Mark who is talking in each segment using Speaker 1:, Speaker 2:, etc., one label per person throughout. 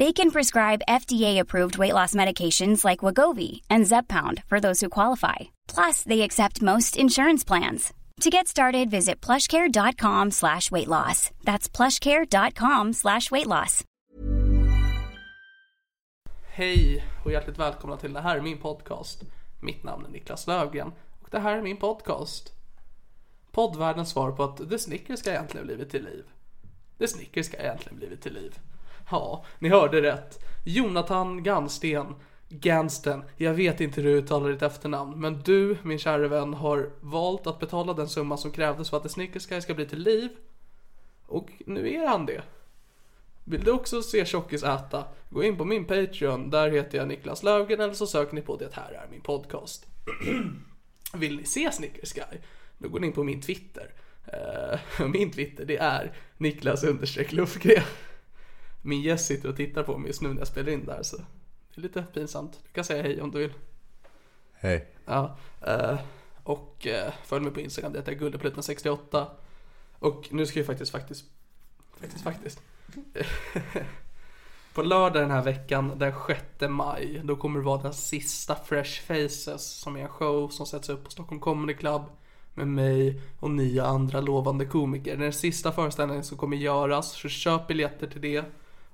Speaker 1: They can prescribe FDA-approved weight loss medications like Wagovi and Zepbound for those who qualify. Plus, they accept most insurance plans. To get started, visit plushcare.com slash weight loss. That's plushcare.com slash weight loss.
Speaker 2: Hej och hjärtligt välkomna till det här är min podcast. Mitt namn är Niklas Löfgren och det här är min podcast. Poddvärldens svar på att det snickerska egentligen blivit till liv. Det snickerska egentligen blivit till liv. Ja, ni hörde rätt. Jonathan Gansten, Gansten, jag vet inte hur du uttalar ditt efternamn, men du, min kära vän, har valt att betala den summa som krävdes för att det snickerska ska bli till liv. Och nu är han det. Vill du också se Tjockis äta? Gå in på min Patreon, där heter jag Niklas Löfgren eller så söker ni på det här är min podcast. Vill ni se Snickers Guy? Då går ni in på min Twitter. Eh, min Twitter det är Niklas understreck Lufgren. Min gäst sitter och tittar på mig just nu när jag spelar in där så det är lite pinsamt. Du kan säga hej om du vill.
Speaker 3: Hej.
Speaker 2: Ja, eh, och eh, följ mig på Instagram, det heter guldepluten68. Och nu ska jag faktiskt, faktiskt, faktiskt, faktiskt. på lördag den här veckan, den 6 maj, då kommer det vara den sista Fresh Faces som är en show som sätts upp på Stockholm Comedy Club med mig och nio andra lovande komiker. Det är den sista föreställningen som kommer göras, så köp biljetter till det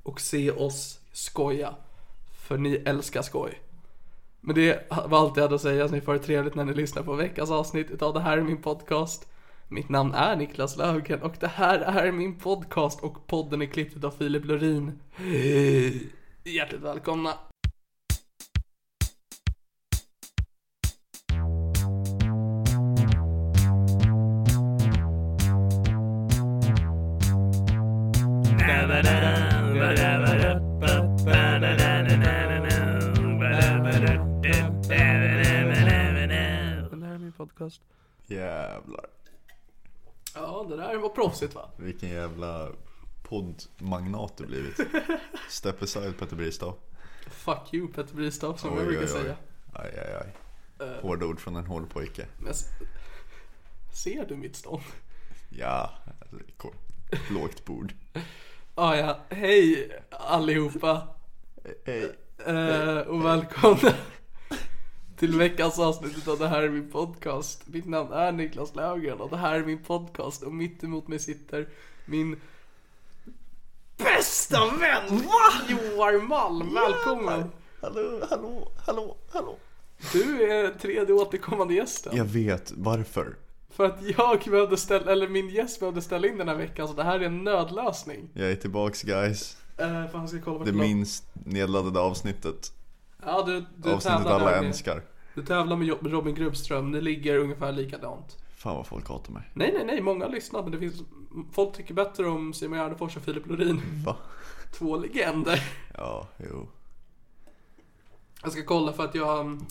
Speaker 2: och se oss skoja. För ni älskar skoj. Men det var allt jag hade att säga, så ni får det trevligt när ni lyssnar på veckans avsnitt utav Det här är min podcast. Mitt namn är Niklas Löfgren och det här är min podcast och podden är klippt utav Filip Lorin. Hej! Hjärtligt välkomna! Det här är min podcast.
Speaker 3: Jävlar.
Speaker 2: Ja, det där var proffsigt va?
Speaker 3: Vilken jävla poddmagnat du blivit. Step aside Petter Bristav.
Speaker 2: Fuck you Petter Bristav som
Speaker 3: Oj,
Speaker 2: jag brukar
Speaker 3: oj, oj.
Speaker 2: säga. Eh.
Speaker 3: Aj, aj, aj. Hårda ord från en hård pojke.
Speaker 2: Men s- ser du mitt stånd?
Speaker 3: Ja, alltså, kort. lågt bord.
Speaker 2: Ah, ja, hej allihopa
Speaker 3: Hej.
Speaker 2: eh, och välkomna till veckans avsnitt av Det här är min podcast. Mitt namn är Niklas Löfgren och det här är min podcast och mitt emot mig sitter min bästa vän Joar Malm, välkommen!
Speaker 3: Hallå, hallå, hallå, hallå.
Speaker 2: Du är tredje återkommande gästen.
Speaker 3: Jag vet varför.
Speaker 2: För att jag behövde ställa, eller min gäst behövde ställa in den här veckan så det här är en nödlösning.
Speaker 3: Jag är tillbaks guys.
Speaker 2: Eh, för han ska kolla på
Speaker 3: Det minst nedladdade avsnittet.
Speaker 2: Ja, du, du
Speaker 3: Avsnittet
Speaker 2: tävlar
Speaker 3: alla
Speaker 2: där med-
Speaker 3: önskar.
Speaker 2: Du tävlar med Jo- Robin Grubström, ni ligger ungefär likadant.
Speaker 3: Fan vad folk hatar mig.
Speaker 2: Nej, nej, nej, många har lyssnat men det finns, folk tycker bättre om Simon Gärdenfors och Filip Lorin.
Speaker 3: Va?
Speaker 2: Två legender.
Speaker 3: Ja, jo.
Speaker 2: Jag ska kolla för att jag mm,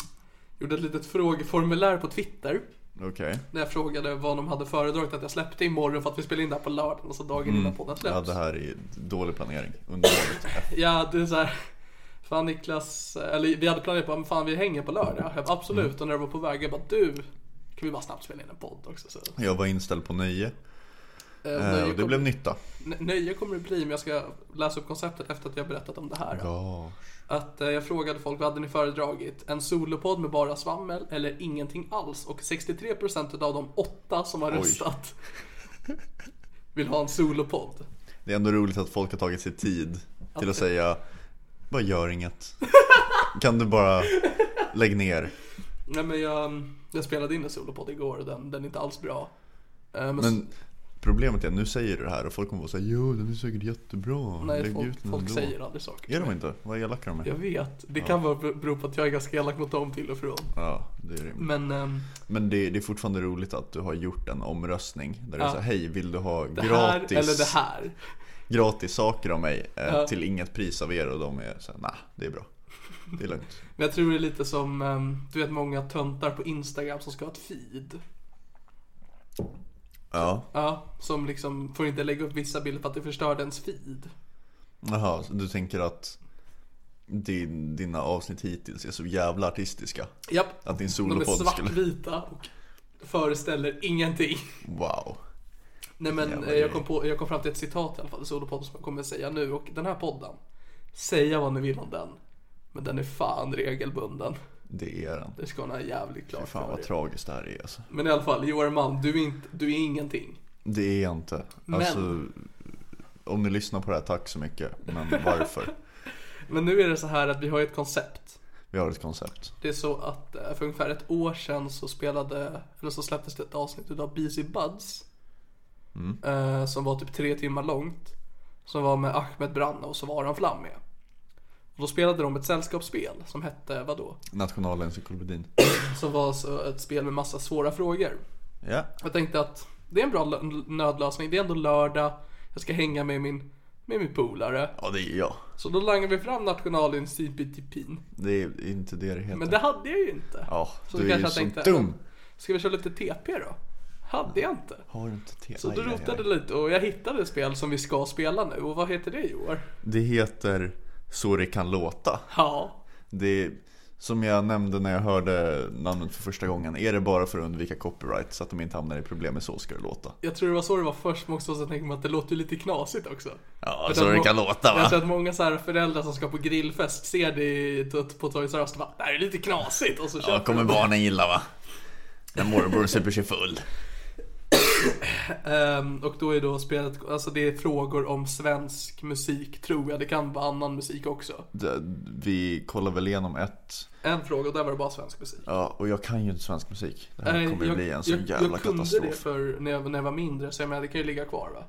Speaker 2: gjorde ett litet frågeformulär på Twitter.
Speaker 3: Okej.
Speaker 2: När jag frågade vad de hade föredragit att jag släppte imorgon för att vi spelade in det här på lördagen, alltså dagen innan podden släpps.
Speaker 3: Mm. Ja, det här är dålig planering. Undermåligt.
Speaker 2: Ja, det är så här. Fan Niklas, eller vi hade planerat på men fan vi hänger på lördag.
Speaker 3: Mm.
Speaker 2: Jag bara, absolut, och när jag var på väg jag bara du, kan vi bara snabbt spela in en podd också? Så,
Speaker 3: Jag var inställd på nöje.
Speaker 2: eh,
Speaker 3: eh,
Speaker 2: nöje,
Speaker 3: Och det
Speaker 2: kom,
Speaker 3: blev nytta.
Speaker 2: nö- nöje kommer det bli, men jag ska läsa upp konceptet efter att vi har berättat om det här.
Speaker 3: Ja.
Speaker 2: Att eh, jag frågade folk, vad hade ni föredragit? En solopodd med bara svammel eller ingenting alls? Och 63% av de åtta som har röstat vill ha en solopodd.
Speaker 3: Det är ändå roligt att folk har tagit sig tid till att säga Bara gör inget. Kan du bara lägg ner.
Speaker 2: Nej men jag, jag spelade in en solopodd igår och den, den är inte alls bra. Eh, men
Speaker 3: Men problemet är, nu säger du det här och folk kommer vara såhär Jo, den är säkert jättebra.
Speaker 2: Nej,
Speaker 3: lägg
Speaker 2: folk,
Speaker 3: ut den
Speaker 2: folk
Speaker 3: ändå."
Speaker 2: säger aldrig saker.
Speaker 3: Gör de inte? Vad elaka de
Speaker 2: Jag
Speaker 3: är.
Speaker 2: vet, det kan vara bero på att jag är ganska elak mot dem till och från.
Speaker 3: Ja, det är rimligt.
Speaker 2: Men ehm,
Speaker 3: Men det, det är fortfarande roligt att du har gjort en omröstning där du
Speaker 2: Ja.
Speaker 3: säger hej vill du ha
Speaker 2: det här
Speaker 3: gratis,
Speaker 2: eller det här.
Speaker 3: gratis saker av mig eh,
Speaker 2: Ja.
Speaker 3: till inget pris av er och de är såhär nah, det är bra. Det är lugnt.
Speaker 2: Men jag tror det är lite som, ehm, du vet många töntar på Instagram som ska ha ett feed.
Speaker 3: Ja,
Speaker 2: Ja, som liksom får inte lägga upp vissa bilder för att det förstör ens feed.
Speaker 3: jaha, så du tänker att din, dina avsnitt hittills är så jävla artistiska?
Speaker 2: Japp,
Speaker 3: Att din
Speaker 2: de är
Speaker 3: solopodd skulle...
Speaker 2: svartvita och föreställer ingenting.
Speaker 3: Wow.
Speaker 2: Nej men
Speaker 3: Jävla
Speaker 2: eh, jag
Speaker 3: grej.
Speaker 2: kom, på, jag kom fram till ett citat i alla fall i Solopodden som jag kommer säga nu och den här podden, säga vad ni vill om den, men den är fan regelbunden.
Speaker 3: Det är den.
Speaker 2: Det ska ni ha jävligt klart
Speaker 3: Fan
Speaker 2: för
Speaker 3: vad
Speaker 2: er.
Speaker 3: tragiskt det här är alltså.
Speaker 2: Men i alla fall, you are a man, du är, inte, du är ingenting.
Speaker 3: Det är jag inte.
Speaker 2: Men-
Speaker 3: Alltså, om ni lyssnar på det här, tack så mycket. Men varför?
Speaker 2: Men nu är det så här att vi har ett koncept.
Speaker 3: Vi har ett koncept.
Speaker 2: Det är så att eh, för ungefär ett år sedan så spelade, eller så släpptes det ett avsnitt utav BC Buds. Eh, som var typ tre timmar långt. Som var med Ahmed Branna och så var han Flam med. Och då spelade de ett sällskapsspel som hette, vadå?
Speaker 3: Nationalencyklopedin.
Speaker 2: Som var så ett spel med massa svåra frågor.
Speaker 3: Ja.
Speaker 2: Jag tänkte att det är en bra lö- nödlösning, det är ändå lördag, jag ska hänga med min, med min polare.
Speaker 3: Ja, det är jag.
Speaker 2: Så då langar vi fram nationalencyklopedin.
Speaker 3: Det är inte det det heter.
Speaker 2: Men det hade jag ju inte.
Speaker 3: Ja,
Speaker 2: så
Speaker 3: du
Speaker 2: då
Speaker 3: är
Speaker 2: kanske
Speaker 3: ju
Speaker 2: jag
Speaker 3: så
Speaker 2: tänkte,
Speaker 3: dum.
Speaker 2: Ska vi köra lite TP då? Hade jag inte.
Speaker 3: Har du inte te?
Speaker 2: Så
Speaker 3: Aj,
Speaker 2: då
Speaker 3: aj, aj.
Speaker 2: rotade jag lite och jag hittade ett spel som vi ska spela nu. Och vad heter det i år?
Speaker 3: Det heter Så det kan låta.
Speaker 2: Ja.
Speaker 3: Det är, som jag nämnde när jag hörde namnet för första gången. Är det bara för att undvika copyright så att de inte hamnar i problem med Så ska det låta.
Speaker 2: Jag tror det var så det var först, men också så tänkte man att det låter ju lite knasigt också.
Speaker 3: Ja,
Speaker 2: Jag
Speaker 3: så
Speaker 2: tror att
Speaker 3: det
Speaker 2: må-
Speaker 3: kan låta
Speaker 2: Jag tror
Speaker 3: va?
Speaker 2: att många så här föräldrar som ska på grillfest ser det i- på Toys R Us och bara det här är lite knasigt och så
Speaker 3: Ja,
Speaker 2: köper
Speaker 3: kommer
Speaker 2: de.
Speaker 3: barnen gilla va? När morbror super sig full.
Speaker 2: Ehm, och då är då spelet, alltså det är frågor om svensk musik tror jag, det kan vara annan musik också.
Speaker 3: Det- Vi kollar väl igenom ett.
Speaker 2: En fråga och där var det bara svensk musik.
Speaker 3: Ja, och jag kan ju inte svensk musik. Det här
Speaker 2: Eh,
Speaker 3: kommer ju bli en så
Speaker 2: jag,
Speaker 3: jävla
Speaker 2: jag kunde det
Speaker 3: katastrof.
Speaker 2: för när jag, när jag var mindre så jag menar det kan ju ligga kvar va.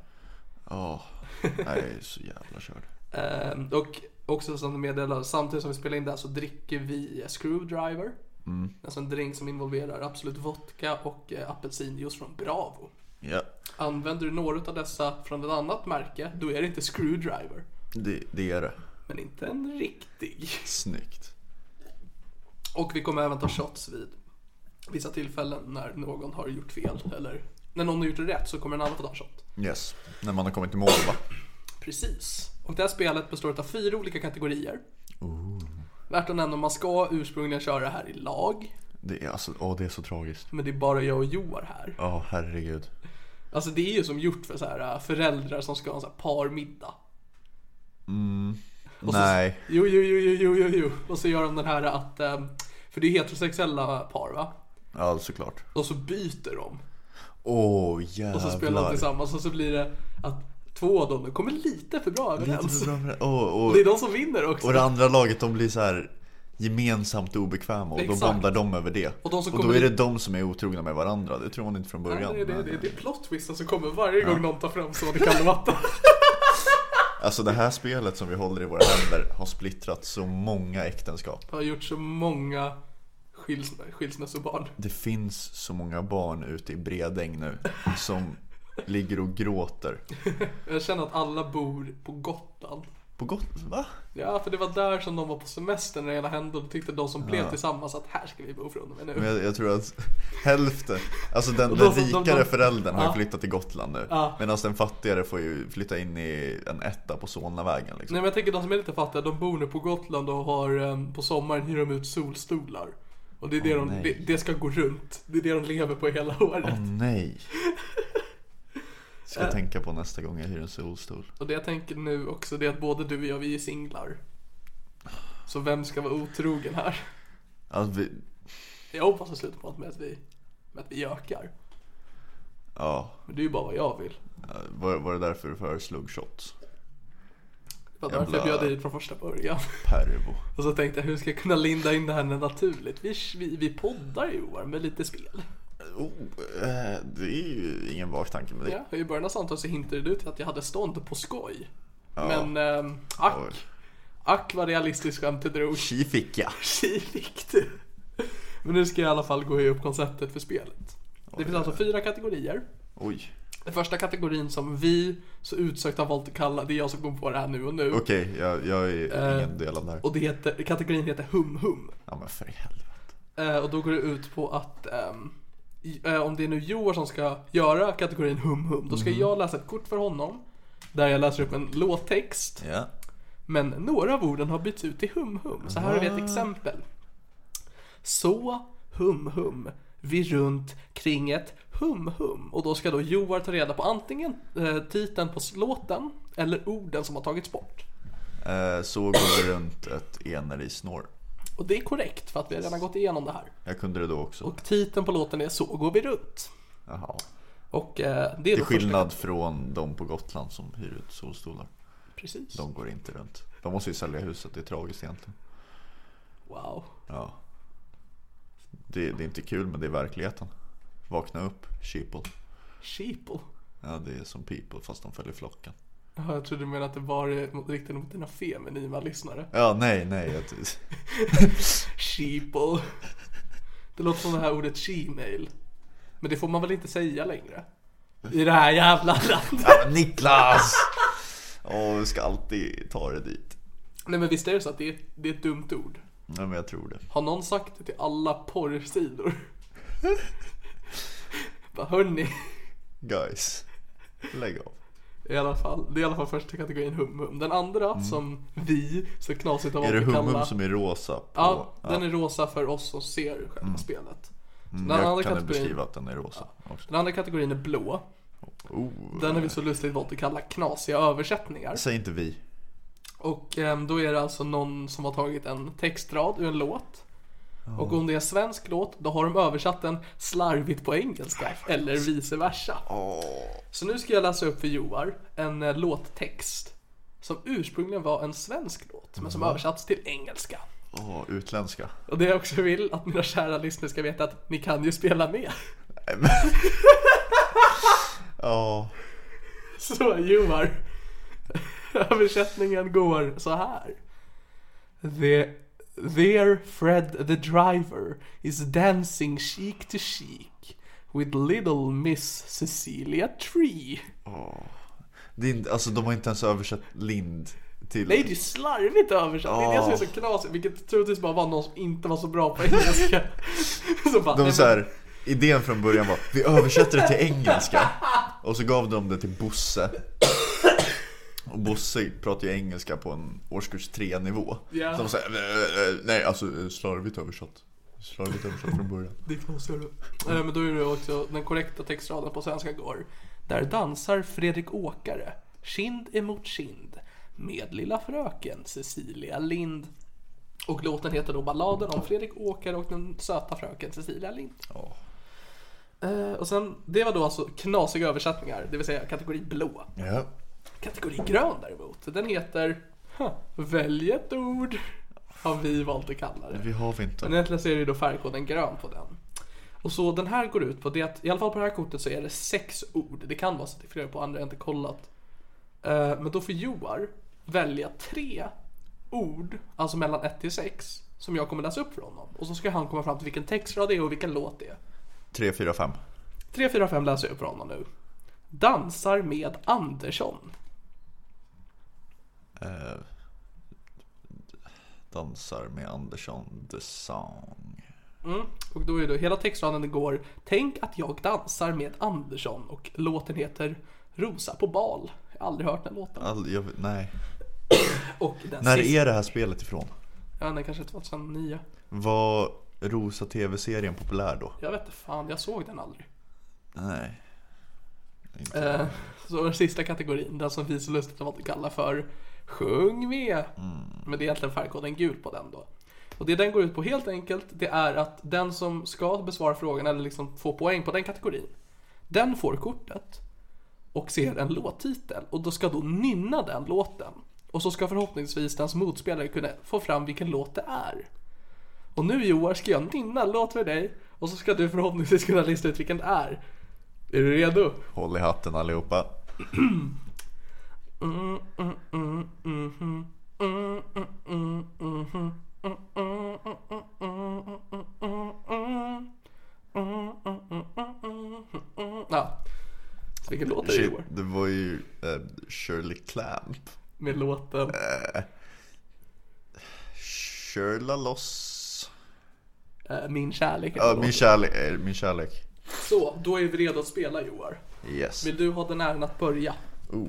Speaker 3: Ja, jag är så jävla körd.
Speaker 2: Ehm, och också som du meddelade, samtidigt som vi spelar in det här så dricker vi Screwdriver.
Speaker 3: Mm.
Speaker 2: Alltså en drink som involverar Absolut Vodka och eh, apelsinjuice från Bravo.
Speaker 3: Ja,
Speaker 2: Använder du några av dessa från ett annat märke, då är det inte screwdriver.
Speaker 3: det, det är det.
Speaker 2: Men inte en riktig.
Speaker 3: Snyggt.
Speaker 2: Och vi kommer även ta shots vid vissa tillfällen när någon har gjort fel. Eller när någon har gjort rätt så kommer en annan få ta en shot.
Speaker 3: Yes, när man har kommit i mål va?
Speaker 2: Precis. Och det här spelet består av fyra olika kategorier. Värt att nämna, man ska ursprungligen köra det här i lag.
Speaker 3: Det är, alltså, åh, det är så tragiskt.
Speaker 2: Men det är bara jag och Joar här.
Speaker 3: Ja, herregud.
Speaker 2: Alltså det är ju som gjort för så här, äh, föräldrar som ska ha en så här parmiddag. Och så-
Speaker 3: Nej,
Speaker 2: Jo, jo, jo, jo, jo, jo, jo. Och så gör de den här att, ehm, för det är heterosexuella par va?
Speaker 3: ja såklart.
Speaker 2: Och så byter de.
Speaker 3: Åh
Speaker 2: Och så spelar de
Speaker 3: jävlar.
Speaker 2: tillsammans och så blir det att två av dem de kommer lite för bra
Speaker 3: Lite
Speaker 2: överens.
Speaker 3: för bra för det. och, och,
Speaker 2: Det är de som vinner också.
Speaker 3: och det andra laget de blir så här gemensamt obekväma och
Speaker 2: Exakt.
Speaker 3: då bondar de över det.
Speaker 2: Och de som
Speaker 3: då
Speaker 2: kommer
Speaker 3: är det
Speaker 2: in-
Speaker 3: de som är otrogna med varandra, det tror man inte från
Speaker 2: Nej,
Speaker 3: början.
Speaker 2: det, det,
Speaker 3: men-
Speaker 2: det, det är plot twisten som kommer varje gång någon tar fram så det kan låta.
Speaker 3: Alltså det här spelet som vi håller i våra händer har splittrat så många äktenskap.
Speaker 2: Jag har gjort så många skils- skilsmässobarn.
Speaker 3: Det finns så många barn ute i Bredäng nu som ligger och gråter.
Speaker 2: Jag känner att alla bor på Gotland.
Speaker 3: På Gotland? Va?
Speaker 2: Ja, för det var där som de var på semester när det hela hände och då tyckte de som blev tillsammans att här ska vi bo från och med
Speaker 3: Men
Speaker 2: nu.
Speaker 3: jag, jag tror att hälften, alltså den,
Speaker 2: Och
Speaker 3: den
Speaker 2: då får de-
Speaker 3: rikare
Speaker 2: de-
Speaker 3: föräldern har ju
Speaker 2: Ja.
Speaker 3: flyttat till Gotland nu.
Speaker 2: Ja.
Speaker 3: Medan den fattigare får ju flytta in i en etta på Solnavägen liksom.
Speaker 2: Nej men jag tänker de som är lite fattiga, de bor nu på Gotland och har em, på sommaren hyr de ut solstolar. Och det är det
Speaker 3: Åh,
Speaker 2: de,
Speaker 3: nej.
Speaker 2: det, det ska gå runt. Det är det de lever på hela året.
Speaker 3: Åh nej. Ska
Speaker 2: Eh.
Speaker 3: jag tänka på nästa gång jag hyr en solstol.
Speaker 2: Och det jag tänker nu också det är att både du och jag, vi är singlar. Så vem ska vara otrogen här?
Speaker 3: Alltså, vi,
Speaker 2: Jag hoppas att slutar på något med att vi, med att vi ökar.
Speaker 3: ja,
Speaker 2: Men det är ju bara vad jag vill.
Speaker 3: var, var det därför du föreslog shots?
Speaker 2: Det var därför jag
Speaker 3: Jävla-
Speaker 2: bjöd dig hit från första början.
Speaker 3: Pervo.
Speaker 2: Och så tänkte jag, hur ska jag kunna linda in det här naturligt? Vi, vi, vi poddar Johan med lite spel.
Speaker 3: Oh, eh, det är ju ingen vag tanke med det.
Speaker 2: Ja, I början av samtalet så hintade du till att jag hade stånd på skoj. Men ehm, ack,
Speaker 3: Oj.
Speaker 2: ack vad realistiskt skämt du drog.
Speaker 3: Tji fick jag.
Speaker 2: Tji fick du. Men nu ska jag i alla fall gå upp konceptet för spelet. Det finns alltså fyra kategorier.
Speaker 3: Oj.
Speaker 2: Den första kategorin som vi så utsökt har valt att kalla, det är jag som kom på det här nu och nu.
Speaker 3: Okej, jag, jag
Speaker 2: Eh.
Speaker 3: är ingen del av det här.
Speaker 2: Och det heter, kategorin heter Hum Hum.
Speaker 3: Ja men för i helvete.
Speaker 2: Eh, och då går det ut på att ehm, i- eh, om det är nu Joar som ska göra kategorin Hum Hum, då ska
Speaker 3: Mm.
Speaker 2: jag läsa ett kort för honom. Där jag läser upp en låttext.
Speaker 3: Ja.
Speaker 2: Men några av orden har bytts ut till hum hum. Så här har vi
Speaker 3: Ah.
Speaker 2: ett exempel. Så hum hum. Vi runt kring ett hum hum. Och då ska då Joar ta reda på antingen eh, titeln på låten eller orden som har tagits bort.
Speaker 3: Eh, så går det runt ett enare i snår.
Speaker 2: Och det är korrekt för att vi har redan gått igenom det här.
Speaker 3: Jag kunde det då också.
Speaker 2: Och titeln på låten är Så går vi runt.
Speaker 3: Jaha.
Speaker 2: Och eh, det är
Speaker 3: Till
Speaker 2: då första-
Speaker 3: skillnad från de på Gotland som hyr ut solstolar.
Speaker 2: Precis.
Speaker 3: De går inte runt. De måste ju sälja huset, det är tragiskt egentligen.
Speaker 2: Wow.
Speaker 3: Ja. Det, det är inte kul men det är verkligheten. Vakna upp, sheeple.
Speaker 2: Sheeple.
Speaker 3: Ja, det är som people fast de följer flocken.
Speaker 2: Jaha, Jag trodde du menade att det var eh, mot- riktat mot dina feminina lyssnare.
Speaker 3: Ja, nej, nej. Jag,
Speaker 2: Sheeple. Det låter som det här ordet shemale. Men det får man väl inte säga längre? I det här jävla landet.
Speaker 3: Niklas! Åh, vi ska alltid ta det dit.
Speaker 2: Nej men visst är det så att det är, det är ett dumt ord?
Speaker 3: Nej, men jag tror det.
Speaker 2: Har någon sagt det till alla porrsidor? Bara hörni.
Speaker 3: Guys, lägg av.
Speaker 2: I alla fall, det är i alla fall första kategorin hum-hum. Den andra som vi så knasigt har
Speaker 3: Mm. Är
Speaker 2: valt
Speaker 3: det
Speaker 2: att
Speaker 3: humum
Speaker 2: kalla.
Speaker 3: som är rosa? På,
Speaker 2: Ja, den är rosa för oss som ser själva spelet. Så den, andra
Speaker 3: Mm. Jag kan beskriva
Speaker 2: kategorin,
Speaker 3: att den är rosa också.
Speaker 2: den andra kategorin är blå.
Speaker 3: Oh.
Speaker 2: Den har vi så lustigt valt att kalla knasiga översättningar.
Speaker 3: Säg inte vi.
Speaker 2: Och ehm, då är det alltså någon som har tagit en textrad ur en låt. Och om det är en svensk låt, då har de översatt den slarvigt på engelska. Eller vice versa. Så nu ska jag läsa upp för Joar en eh, låttext. Som ursprungligen var en svensk låt, men som
Speaker 3: Mm.
Speaker 2: översatts till engelska.
Speaker 3: Åh, utländska.
Speaker 2: Och det jag också vill att mina kära lyssnare ska veta att ni kan ju spela med.
Speaker 3: Ja,
Speaker 2: Så Joar. Översättningen går så här. The, there Fred the driver is dancing cheek to cheek with little miss Cecilia Tree.
Speaker 3: det är inte, alltså de har inte ens översatt Lind till...
Speaker 2: Nej, det är ju slarvigt översatt. Det är det som är så knasigt, vilket troligtvis bara var någon som inte var så bra på engelska. så bara, nej,
Speaker 3: De
Speaker 2: men-
Speaker 3: så här, idén från början var vi översätter det till engelska. Och så gav de det till Bosse. Och Bosse pratar ju engelska på en årskurs 3 nivå.
Speaker 2: Ja.
Speaker 3: Så de säger nej alltså eh, slarvigt översatt. Slarvigt översatt från början.
Speaker 2: Det är knasigare. Eh, Men då är det också den korrekta textraden på svenska går. Där dansar Fredrik Åkare, kind emot kind, med lilla fröken Cecilia Lind. Och låten heter då Balladen om Fredrik Åkare och den söta fröken Cecilia Lind.
Speaker 3: Ja.
Speaker 2: Eh, Och sen, det var då alltså knasiga översättningar, det vill säga kategori blå.
Speaker 3: Ja.
Speaker 2: Kategori grön däremot, den heter huh, Välj ett ord, har vi valt att kalla det.
Speaker 3: Vi har vi
Speaker 2: Men
Speaker 3: inte.
Speaker 2: egentligen så är det ju då färgkoden grön på den. Och så den här går ut på det att, i alla fall på det här kortet så är det sex ord. Det kan vara så att det är flera på andra, jag har inte kollat. Eh, men då får Joar välja tre ord, alltså mellan ett till sex, som jag kommer läsa upp för honom. Och så ska han komma fram till vilken textrad det är och vilken låt det är.
Speaker 3: 3, 4, 5.
Speaker 2: Tre, fyra, fem läser jag upp för honom nu. Dansar med Andersson.
Speaker 3: Eh, dansar med Andersson the Song.
Speaker 2: Och då är det hela textraden går Tänk att jag dansar med Andersson och låten heter Rosa på bal. Jag har aldrig hört den låten.
Speaker 3: All, jag, nej.
Speaker 2: Och den
Speaker 3: När
Speaker 2: sista,
Speaker 3: är det här spelet ifrån?
Speaker 2: ja, den kanske 2009.
Speaker 3: Var Rosa TV-serien populär då?
Speaker 2: Jag vet inte fan, jag såg den aldrig.
Speaker 3: Nej. Inte.
Speaker 2: Eh, Så den sista kategorin, den som vi så lustigt har att kalla för Sjung med! Men det är egentligen färgkoden gul på den då. Och det den går ut på helt enkelt, det är att den som ska besvara frågan eller liksom få poäng på den kategorin, den får kortet och ser en låttitel och då ska då nynna den låten. Och så ska förhoppningsvis dens motspelare kunna få fram vilken låt det är. Och nu Joar ska jag nynna en låt för dig och så ska du förhoppningsvis kunna lista ut vilken det är. Är du redo?
Speaker 3: Håll i hatten allihopa.
Speaker 2: Ja. Så vilken låt är det
Speaker 3: Shit,
Speaker 2: Joar?
Speaker 3: det var ju eh, Shirley Clamp.
Speaker 2: Med låten.
Speaker 3: Shirla loss.
Speaker 2: eh, Min kärlek.
Speaker 3: Ja, min kärlek. eh, Min kärlek.
Speaker 2: Så, då är vi redo att spela Joar.
Speaker 3: Yes.
Speaker 2: Vill du ha den äran att börja?
Speaker 3: Oh.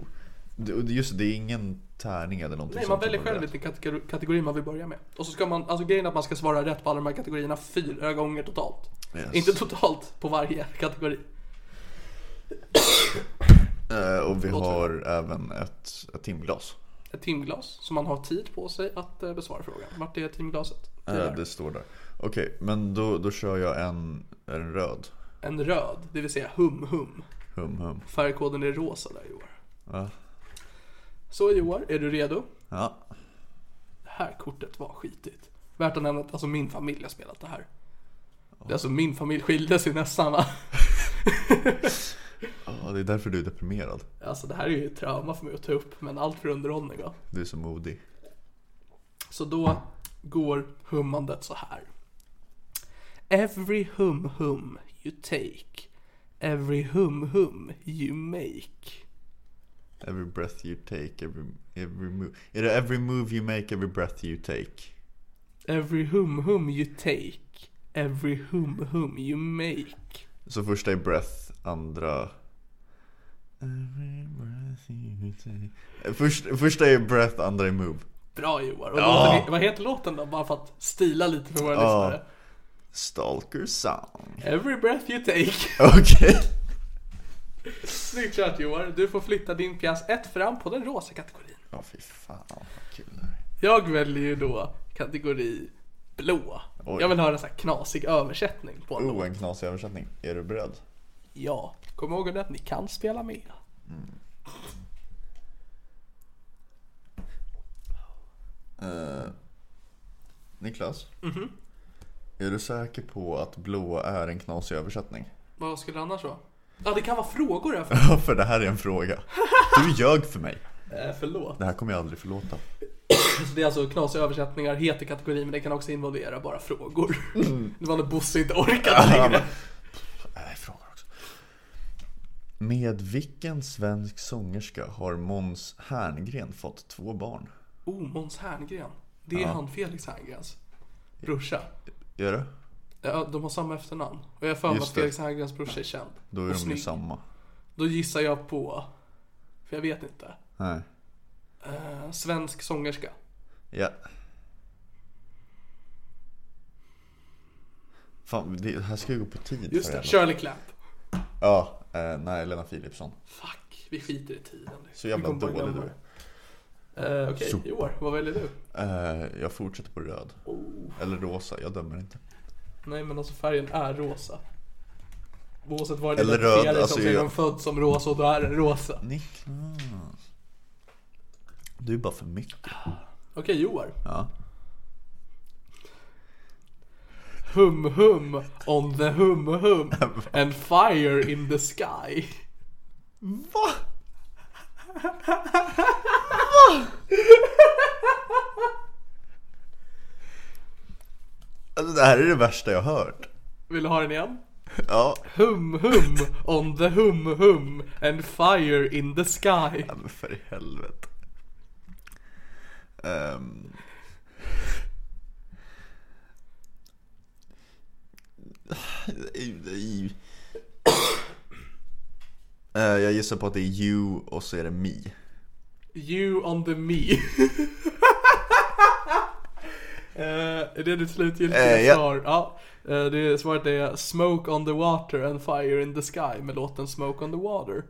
Speaker 3: Det- och det- Just det, det är ingen tärning eller någonting
Speaker 2: Nej, man
Speaker 3: sånt
Speaker 2: väljer
Speaker 3: som
Speaker 2: själv
Speaker 3: rätt.
Speaker 2: vilken kategori, kategori man vill börja med. Och så ska man, alltså grejen är att man ska svara rätt på alla de här kategorierna fyra gånger totalt.
Speaker 3: Yes.
Speaker 2: Inte totalt på varje kategori.
Speaker 3: Eh, Och vi
Speaker 2: Låt mig.
Speaker 3: har även ett, ett timglas.
Speaker 2: Ett timglas, så man har tid på sig att eh, besvara frågan. Vart är timglaset? Det
Speaker 3: Eh,
Speaker 2: är där.
Speaker 3: Det står där. Okej, men då, då kör jag en, en röd.
Speaker 2: En röd, det vill säga hum hum.
Speaker 3: Hum hum.
Speaker 2: Färgkoden är rosa där Joar.
Speaker 3: Ja.
Speaker 2: Så Joar, är du redo?
Speaker 3: Ja.
Speaker 2: Det här kortet var skitigt. Värt att nämna att alltså min familj har spelat det här. Det är alltså min familj skilde sig nästan va?
Speaker 3: Ja, det är därför du är deprimerad.
Speaker 2: Alltså det här är ju ett trauma för mig att ta upp, men allt för underhållning va?
Speaker 3: Du är så modig.
Speaker 2: Så då går hummandet så här. Every hum hum you take Every hum hum you make
Speaker 3: Every breath you take, every, every move. Är det every move you make, every breath you take?
Speaker 2: Every hum hum you take Every hum hum you make
Speaker 3: Så första är breath, andra... Every breath you take. Först, första är breath, andra är move.
Speaker 2: Bra Joar! Och
Speaker 3: Ja.
Speaker 2: låten, vad heter låten då? Bara för att stila lite för våra
Speaker 3: Ja.
Speaker 2: lyssnare.
Speaker 3: Stalker song.
Speaker 2: Every breath you take
Speaker 3: Okej.
Speaker 2: Snyggt kört Joar! Du får flytta din pjäs ett fram på den rosa kategorin.
Speaker 3: Ja, fy fan vad kul det här
Speaker 2: Jag väljer ju då kategori blå.
Speaker 3: Oj.
Speaker 2: Jag vill höra en sån här knasig översättning på en låt.
Speaker 3: Oh, en knasig översättning. Är du beredd?
Speaker 2: Ja, kom ihåg att ni kan spela med.
Speaker 3: Niklas? Är du säker på att blåa är en knasig översättning?
Speaker 2: Vad skulle det annars vara? Ja, det kan vara frågor här. För...
Speaker 3: Ja, för det här är en fråga. Du ljög för mig.
Speaker 2: Eh, förlåt.
Speaker 3: Det här kommer jag aldrig förlåta.
Speaker 2: Så det är alltså knasiga översättningar, heter kategorin, men det kan också involvera bara frågor.
Speaker 3: Mm.
Speaker 2: Det var när Bosse inte orkade längre.
Speaker 3: Nej, frågor också. Med vilken svensk sångerska har Måns Herngren fått två barn?
Speaker 2: Oh, Måns Herngren. Det är han Felix Herngrens brorsa.
Speaker 3: Gör det?
Speaker 2: Ja, de har samma efternamn. Och jag har för mig att
Speaker 3: Just det.
Speaker 2: Felix Herngrens brorsa är känd.
Speaker 3: Då är
Speaker 2: och
Speaker 3: de ju
Speaker 2: snygg.
Speaker 3: samma.
Speaker 2: Då gissar jag på, för jag vet inte,
Speaker 3: Nej.
Speaker 2: eh, svensk sångerska.
Speaker 3: Ja. Fan, det här ska ju gå på tid.
Speaker 2: Just
Speaker 3: för
Speaker 2: det,
Speaker 3: jävla-
Speaker 2: Shirley Clamp.
Speaker 3: Ja, eh, nej, Lena Philipsson.
Speaker 2: Fuck, vi skiter i tiden.
Speaker 3: Så jävla
Speaker 2: Vi kommer bara
Speaker 3: dålig
Speaker 2: glömma.
Speaker 3: du är.
Speaker 2: Eh, Okej,
Speaker 3: Så.
Speaker 2: i år. Vad väljer du?
Speaker 3: Eh, jag fortsätter på röd.
Speaker 2: Oh.
Speaker 3: Eller rosa, jag dömer inte.
Speaker 2: Nej men alltså färgen är rosa. Oavsett vad det
Speaker 3: Eller
Speaker 2: identifierar
Speaker 3: röd,
Speaker 2: sig
Speaker 3: alltså,
Speaker 2: som så är
Speaker 3: jag-
Speaker 2: den född som rosa och då är den rosa. Okej
Speaker 3: Niklas. Du är bara för mycket.
Speaker 2: Joar.
Speaker 3: Ja.
Speaker 2: Hum hum on the hum hum and fire in the sky.
Speaker 3: Va? Alltså det här är det värsta jag hört.
Speaker 2: Vill du ha den igen?
Speaker 3: Ja,
Speaker 2: Hum hum on the hum hum and fire in the sky.
Speaker 3: men för i helvete. Ehm. Eh, jag gissar på att det är you och så är det me.
Speaker 2: You on the me. Eh, är det ditt slutgiltiga
Speaker 3: Eh, ja.
Speaker 2: svar? Ja. Eh, det svaret är Smoke on the water and fire in the sky med låten Smoke on the water.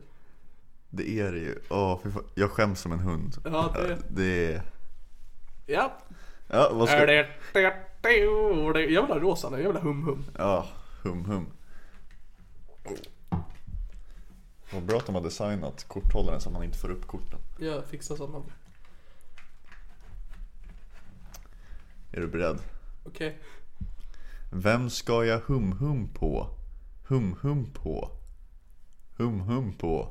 Speaker 3: Det är det ju. Åh, fy fan. jag skäms som en hund.
Speaker 2: Ja, det-
Speaker 3: Eh, det är...
Speaker 2: Ja.
Speaker 3: Ja, vad ska...
Speaker 2: Är det- Jag vill ha rosa nu, jag vill ha hum hum.
Speaker 3: Ja, hum hum. Vad bra att de har designat korthållaren så att man inte får upp korten.
Speaker 2: Jag fixar sådana.
Speaker 3: Är du beredd?
Speaker 2: Okej.
Speaker 3: Vem ska jag hum hum på? Hum hum på? Hum hum på?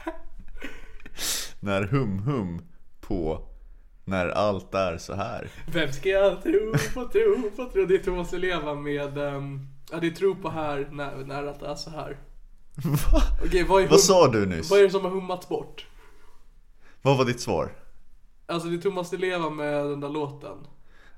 Speaker 3: när hum hum på? När allt är så här?
Speaker 2: Vem ska jag tro på, tro på, tro? Det är Thomas Di Leva med... ehm, ja, det är tro på här när, när allt är så här.
Speaker 3: Va?
Speaker 2: Okej, vad, är hum-
Speaker 3: Vad sa du nyss?
Speaker 2: vad är det som har hummats bort?
Speaker 3: Vad var ditt svar?
Speaker 2: Alltså det är Thomas Di Leva med den där låten.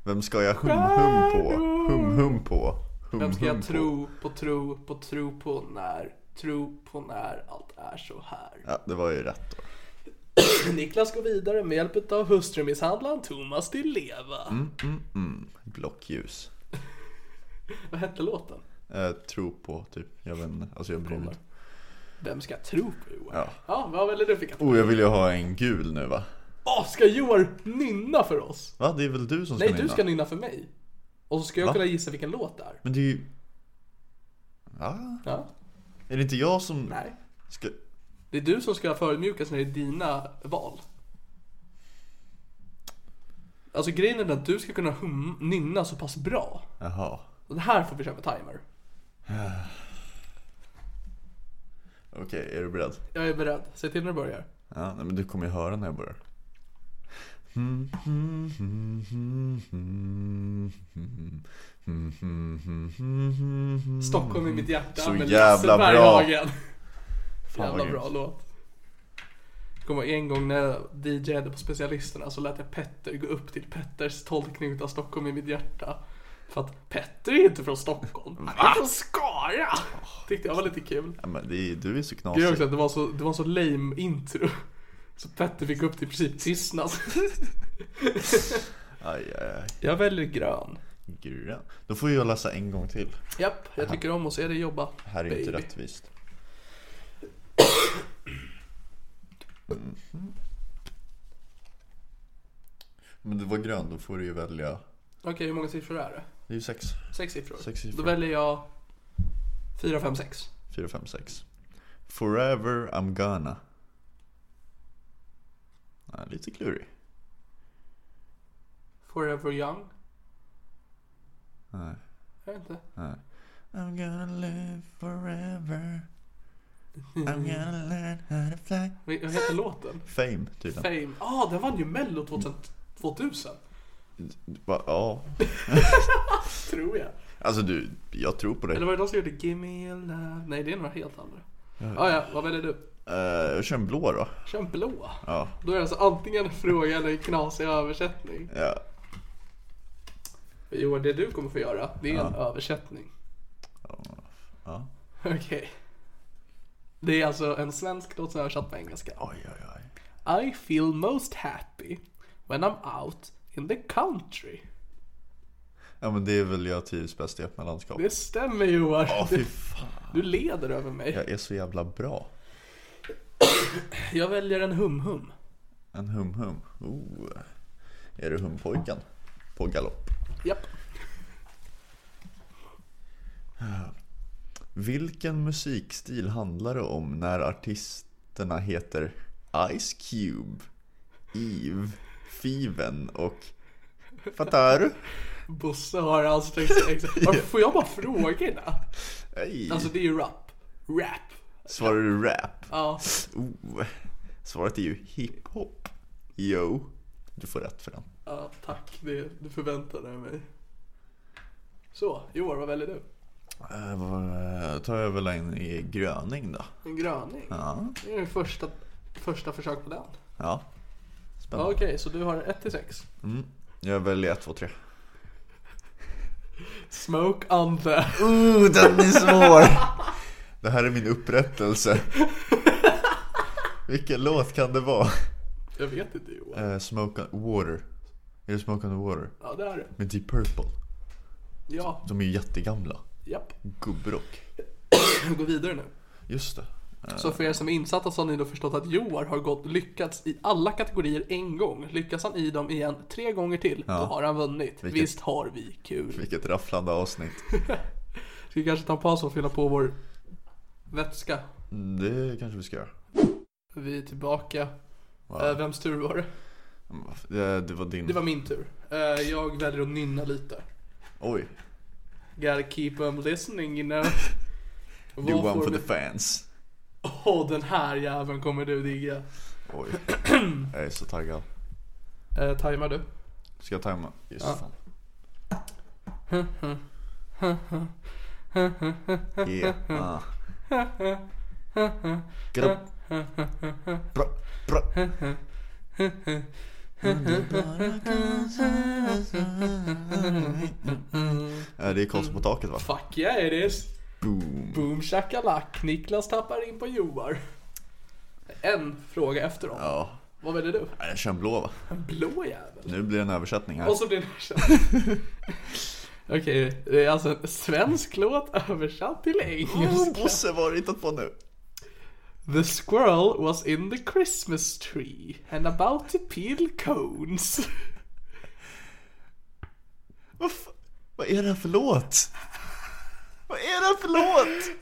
Speaker 3: Vem ska jag hum hum på? Hum hum på? Hum,
Speaker 2: Vem ska
Speaker 3: hum
Speaker 2: jag
Speaker 3: på?
Speaker 2: tro på, tro på, tro på när? Tro på när allt är så här.
Speaker 3: Ja, det var ju rätt då.
Speaker 2: Niklas går vidare med hjälp av hustrumisshandlaren Thomas Di Leva.
Speaker 3: Mm. Blockljus.
Speaker 2: Vad hette låten?
Speaker 3: Eh, tro på, typ. Jag vet inte. Alltså jag bryr mig inte.
Speaker 2: Vem ska jag tro på Johan?
Speaker 3: Ja.
Speaker 2: ja vad väljer du för kategori?
Speaker 3: Oh, jag vill ju ha en gul nu va?
Speaker 2: Åh, ska Johan nynna för oss?
Speaker 3: Va? Det är väl du som ska
Speaker 2: Nej, du
Speaker 3: nynna?
Speaker 2: ska nynna för mig. Och så ska jag
Speaker 3: Va?
Speaker 2: kunna gissa vilken låt det är.
Speaker 3: Men det är ju... Va?
Speaker 2: Ja.
Speaker 3: Är det inte jag som...
Speaker 2: Nej.
Speaker 3: Ska...
Speaker 2: Det är du som ska förödmjukas när det är dina val. Alltså grejen är den att du ska kunna hum- nynna så pass bra.
Speaker 3: Jaha.
Speaker 2: Och det här får vi köra med timer.
Speaker 3: Okej, är du beredd?
Speaker 2: Jag är beredd. Säg till när du börjar.
Speaker 3: Ja, nej, men du kommer ju höra när jag börjar.
Speaker 2: Stockholm i mitt hjärta
Speaker 3: Mm. Så
Speaker 2: med
Speaker 3: jävla
Speaker 2: Lasse
Speaker 3: bra.
Speaker 2: Berghagen.
Speaker 3: vad
Speaker 2: jävla
Speaker 3: grymt.
Speaker 2: bra låt. Jag kommer ihåg en gång när jag DJade på specialisterna så lät jag Petter gå upp till Petters tolkning av Stockholm i mitt hjärta. För att Petter är inte från Stockholm, han är från Skara! Tyckte jag var lite kul.
Speaker 3: Ja, men det är, du är så
Speaker 2: Det, är
Speaker 3: knasig.
Speaker 2: också, att det, var så, det var så lame intro. Så Petter fick gå upp till i princip tystnad.
Speaker 3: Aj, aj, aj.
Speaker 2: Jag väljer grön.
Speaker 3: Grön. Då får ju jag läsa en gång till.
Speaker 2: Japp, jag tycker om att se dig jobba.
Speaker 3: Det här är ju inte
Speaker 2: baby.
Speaker 3: rättvist. Mm. Men det var grön, då får du ju välja.
Speaker 2: Okej, hur många siffror är det?
Speaker 3: Det är ju sex.
Speaker 2: Sex siffror.
Speaker 3: Sex siffror.
Speaker 2: Då väljer jag fyra, fem, sex.
Speaker 3: fyra fem sex Forever I'm gonna. Ja, lite klurig.
Speaker 2: Forever young.
Speaker 3: Nej.
Speaker 2: Jag vet inte.
Speaker 3: I'm gonna live forever. I'm gonna learn how to fly.
Speaker 2: Vad vad heter låten?
Speaker 3: Fame tydligen.
Speaker 2: Fame. Ah, den vann ju mello 2000. 2000.
Speaker 3: Va, ja.
Speaker 2: Tror jag.
Speaker 3: Alltså du, jag tror på dig.
Speaker 2: Eller var det de som gjorde Gimme a love? Nej, det är några helt andra. Ah, ja, vad väljer du?
Speaker 3: Eh, jag kör en blå då.
Speaker 2: Kör en blå.
Speaker 3: Ja.
Speaker 2: Då är det alltså antingen en fråga eller en knasig översättning.
Speaker 3: ja.
Speaker 2: Johan, det du kommer få göra, det är en översättning.
Speaker 3: Ja.
Speaker 2: Okej. Det är alltså en svensk låt som är översatt på engelska.
Speaker 3: Oj, oj, oj.
Speaker 2: I feel most happy when I'm out in the country.
Speaker 3: Ja men det är väl jag trivs bäst i öppna landskap.
Speaker 2: Det stämmer Johan.
Speaker 3: Ja, fy fan.
Speaker 2: Du leder över mig.
Speaker 3: Jag är så jävla bra.
Speaker 2: Jag väljer en hum-hum.
Speaker 3: En hum-hum. Oh. Är du humpojken? På galopp.
Speaker 2: Japp.
Speaker 3: Vilken musikstil handlar det om när artisterna heter Ice Cube, Eve, Fiven och... Fattar du?
Speaker 2: Bosse har ansträngt sig extra. Varför får jag bara frågorna?
Speaker 3: Ej.
Speaker 2: Alltså det är ju rap. Rap.
Speaker 3: Svarar du rap?
Speaker 2: Ja.
Speaker 3: Oh. Svaret är ju hiphop. Yo. Du får rätt för den.
Speaker 2: ja tack, det, du förväntade jag mig. Så, Johan vad väljer du?
Speaker 3: Eh, vad- tar jag väl en i gröning då.
Speaker 2: En gröning.
Speaker 3: Ja.
Speaker 2: Det är den första, första försök på den.
Speaker 3: ja. spännande.
Speaker 2: Okej, så du har 1 till 6.
Speaker 3: Jag väljer 1, 2, 3.
Speaker 2: Smoke on the...
Speaker 3: Uh, den är svår! Det här är min upprättelse. Vilken låt kan det vara?
Speaker 2: Jag vet inte Johan.
Speaker 3: Eh, smoke on Water. Är det Smoke on the Water?
Speaker 2: Ja, det är det.
Speaker 3: Med Deep Purple.
Speaker 2: Ja,
Speaker 3: De är ju jättegamla.
Speaker 2: japp.
Speaker 3: Gubbrock.
Speaker 2: Vi går vidare nu.
Speaker 3: Just det.
Speaker 2: Så för er som är insatta så har ni då förstått att Joar har gått lyckats i alla kategorier en gång. Lyckas han i dem igen tre gånger till, då har han vunnit.
Speaker 3: Vilket-
Speaker 2: Visst har vi kul.
Speaker 3: Vilket rafflande avsnitt.
Speaker 2: Ska vi kanske ta en paus och fylla på vår vätska?
Speaker 3: Det kanske vi ska göra.
Speaker 2: Vi är tillbaka. Eh, vems tur var det?
Speaker 3: Mm, Det, det var din.
Speaker 2: Det var min tur. Eh, jag väljer att nynna lite.
Speaker 3: Oj.
Speaker 2: Gotta keep 'em listening you know. Vad
Speaker 3: Do one
Speaker 2: får
Speaker 3: for
Speaker 2: vi-
Speaker 3: the fans.
Speaker 2: Åh, den här jäveln kommer du digga.
Speaker 3: Oj. Jag är så taggad.
Speaker 2: Eh, tajmar du?
Speaker 3: Ska jag tajma? Just fan. Yeah. Ah. Get up. Bra, bra. Eh, Det är konst på taket va?
Speaker 2: Fuck yeah it is.
Speaker 3: Boom.
Speaker 2: Boom shakalak, Niklas tappar in på Joar. En fråga efter dem.
Speaker 3: Ja,
Speaker 2: Vad väljer du?
Speaker 3: jag kör en blå va?
Speaker 2: En blå jävel.
Speaker 3: Nu blir det en översättning här.
Speaker 2: Och så blir det Okej, det är alltså en svensk låt översatt till
Speaker 3: Oh,
Speaker 2: engelska.
Speaker 3: Bosse, vad har du hittat på nu?
Speaker 2: The squirrel was in the Christmas tree and about to peel cones.
Speaker 3: Vad, fa- vad är det här för låt? Vad är det här för låt?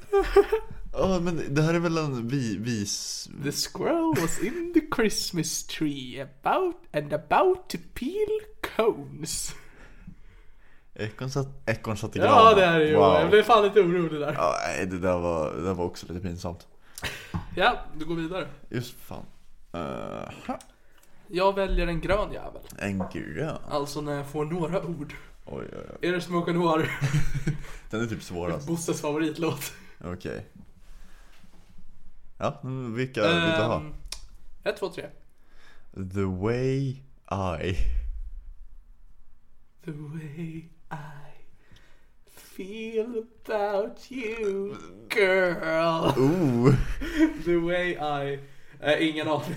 Speaker 3: Ja, men det här är väl en vi, vis...
Speaker 2: The squirrel was in the Christmas tree about and about to peel cones.
Speaker 3: Ekorn satt, ekorn satt i granen.
Speaker 2: Ja, det är det ju.
Speaker 3: Wow.
Speaker 2: Jag blev fan lite orolig där.
Speaker 3: Ja, nej, det där var, det där var också lite pinsamt.
Speaker 2: Ja, du går vidare.
Speaker 3: Just fan. Eh, ha,
Speaker 2: Jag väljer en grön jävel.
Speaker 3: en grön.
Speaker 2: Alltså när jag får några ord.
Speaker 3: Oj, oj, oj.
Speaker 2: Är det Smoke and Noir?
Speaker 3: Den är typ svårast.
Speaker 2: Bosses favoritlåt.
Speaker 3: Okej. Ja, men vilka vill du ha?
Speaker 2: Ehm, Ett, två, tre.
Speaker 3: The way I...
Speaker 2: The way I feel about you girl.
Speaker 3: Oh!
Speaker 2: The way I... Eh, ingen aning.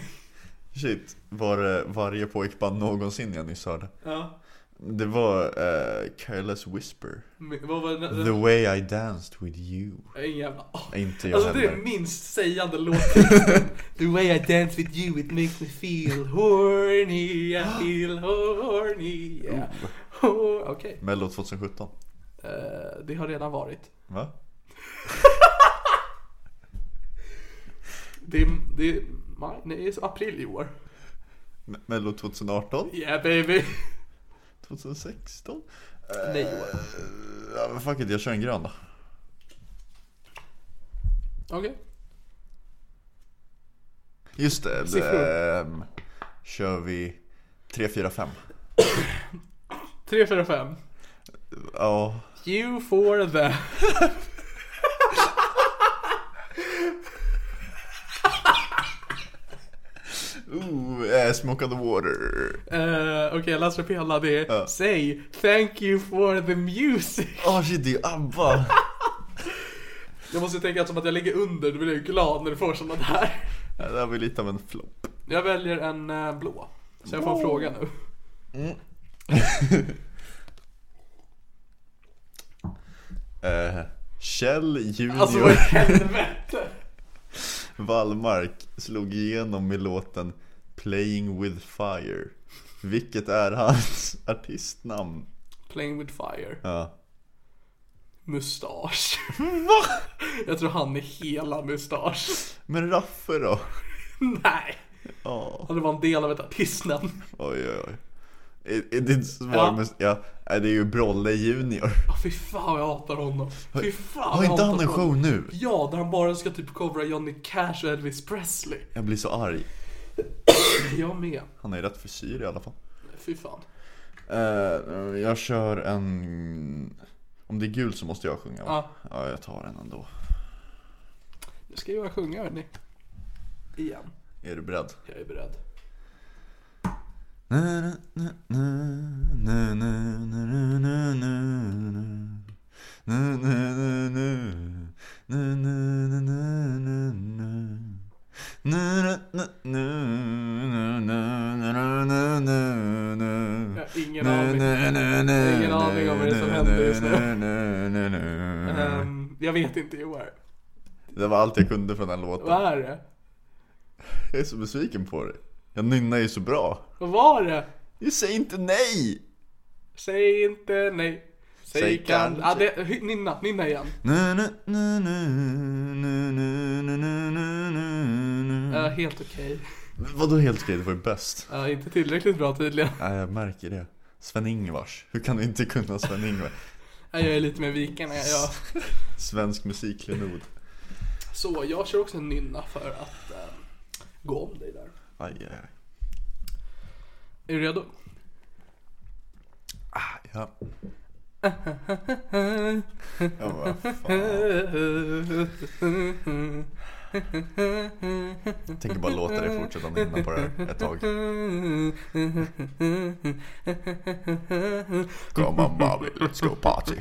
Speaker 3: Shit, var det varje pojkband någonsin jag nyss hörde?
Speaker 2: Ja.
Speaker 3: Det var eh, Careless Whisper.
Speaker 2: Men Vad var det? Eh,
Speaker 3: The way I danced with you.
Speaker 2: Ingen jävla aning.
Speaker 3: Inte jag
Speaker 2: Alltså det är
Speaker 3: heller.
Speaker 2: minst sägande låttexten. The way I dance with you it makes me feel horny, I feel horny, yeah. Hor- Okej,
Speaker 3: Mello 2017.
Speaker 2: eh, det har redan varit.
Speaker 3: Va?
Speaker 2: Det är, det är maj, nej, det är april i år.
Speaker 3: Me- Mello 2018?
Speaker 2: Yeah baby!
Speaker 3: 2016?
Speaker 2: Nej år.
Speaker 3: Ja men fuck it, jag kör en grön då.
Speaker 2: Okej.
Speaker 3: Just det,
Speaker 2: Siffror.
Speaker 3: ehm, kör vi 3, 4, 5.
Speaker 2: tre fyra fem
Speaker 3: Ja,
Speaker 2: You for the...
Speaker 3: ooh, eh, smoke on the water.
Speaker 2: eh, Okej, jag läser upp hela. Det är
Speaker 3: Ja.
Speaker 2: Say thank you for the music.
Speaker 3: Ah shit, det är ju ABBA.
Speaker 2: Jag måste tänka att som att jag ligger under, då blir jag ju glad när du får sådana där.
Speaker 3: Ja, Det här var lite av en flopp.
Speaker 2: Jag väljer en eh, blå. Så jag får en fråga nu.
Speaker 3: Eh, Kjell Junior
Speaker 2: Alltså vad i helvete!
Speaker 3: Wallmark slog igenom med låten Playing with fire. Vilket är hans artistnamn?
Speaker 2: Playing with fire.
Speaker 3: Ja.
Speaker 2: Mustasch. Jag tror han är hela mustasch.
Speaker 3: Men Raffe då?
Speaker 2: Nej.
Speaker 3: Ja,
Speaker 2: Han var en del av ett artistnamn.
Speaker 3: oj oj oj. Är, är ditt svar
Speaker 2: Ja.
Speaker 3: ja. ja, nej, det är ju Brolle Junior.
Speaker 2: Oh, fy fan vad jag hatar honom. Fy fan
Speaker 3: Har
Speaker 2: vad jag
Speaker 3: inte
Speaker 2: hatar
Speaker 3: han en
Speaker 2: honom.
Speaker 3: show nu?
Speaker 2: Ja, där han bara ska typ covra Johnny Cash och Elvis Presley.
Speaker 3: Jag blir så arg.
Speaker 2: Jag med.
Speaker 3: Han är ju rätt frisyr i alla fall.
Speaker 2: Fy fan.
Speaker 3: Eh, jag kör en... Om det är gul så måste jag sjunga va? Ja, jag tar den ändå.
Speaker 2: Nu ska jag sjunga hörni. Igen.
Speaker 3: Är du beredd?
Speaker 2: Jag är beredd. Jag har ingen aning. Ingen aning om vad det är som händer just nu. Ehm, jag vet inte Joar.
Speaker 3: Det var allt jag kunde från den låten.
Speaker 2: Vad är det?
Speaker 3: Jag är så besviken på dig. Jag nynnar ju så bra.
Speaker 2: Vad var det?
Speaker 3: Du säger inte nej!
Speaker 2: Säg inte nej. Säg,
Speaker 3: Säg
Speaker 2: kan.
Speaker 3: kanske.
Speaker 2: Ah, det, hy- nynna, nynna igen.
Speaker 3: Mm.
Speaker 2: Eh, helt okej.
Speaker 3: Vadå helt okej? Det var ju bäst.
Speaker 2: Eh, inte tillräckligt bra tydligen.
Speaker 3: Nej, jag märker det. Sven-Ingvars. Hur kan du inte kunna Sven-Ingvars?
Speaker 2: Eh, jag är lite med vikarna. Jag,
Speaker 3: Svensk musiklenod.
Speaker 2: så jag kör också en nynna för att eh, gå om dig där.
Speaker 3: Aj, aj, aj.
Speaker 2: Är du redo?
Speaker 3: Ah, ja. Ja, vad fan. Jag tänker bara låta dig fortsätta nynna på det här ett tag. Come on Bobby, let's go party.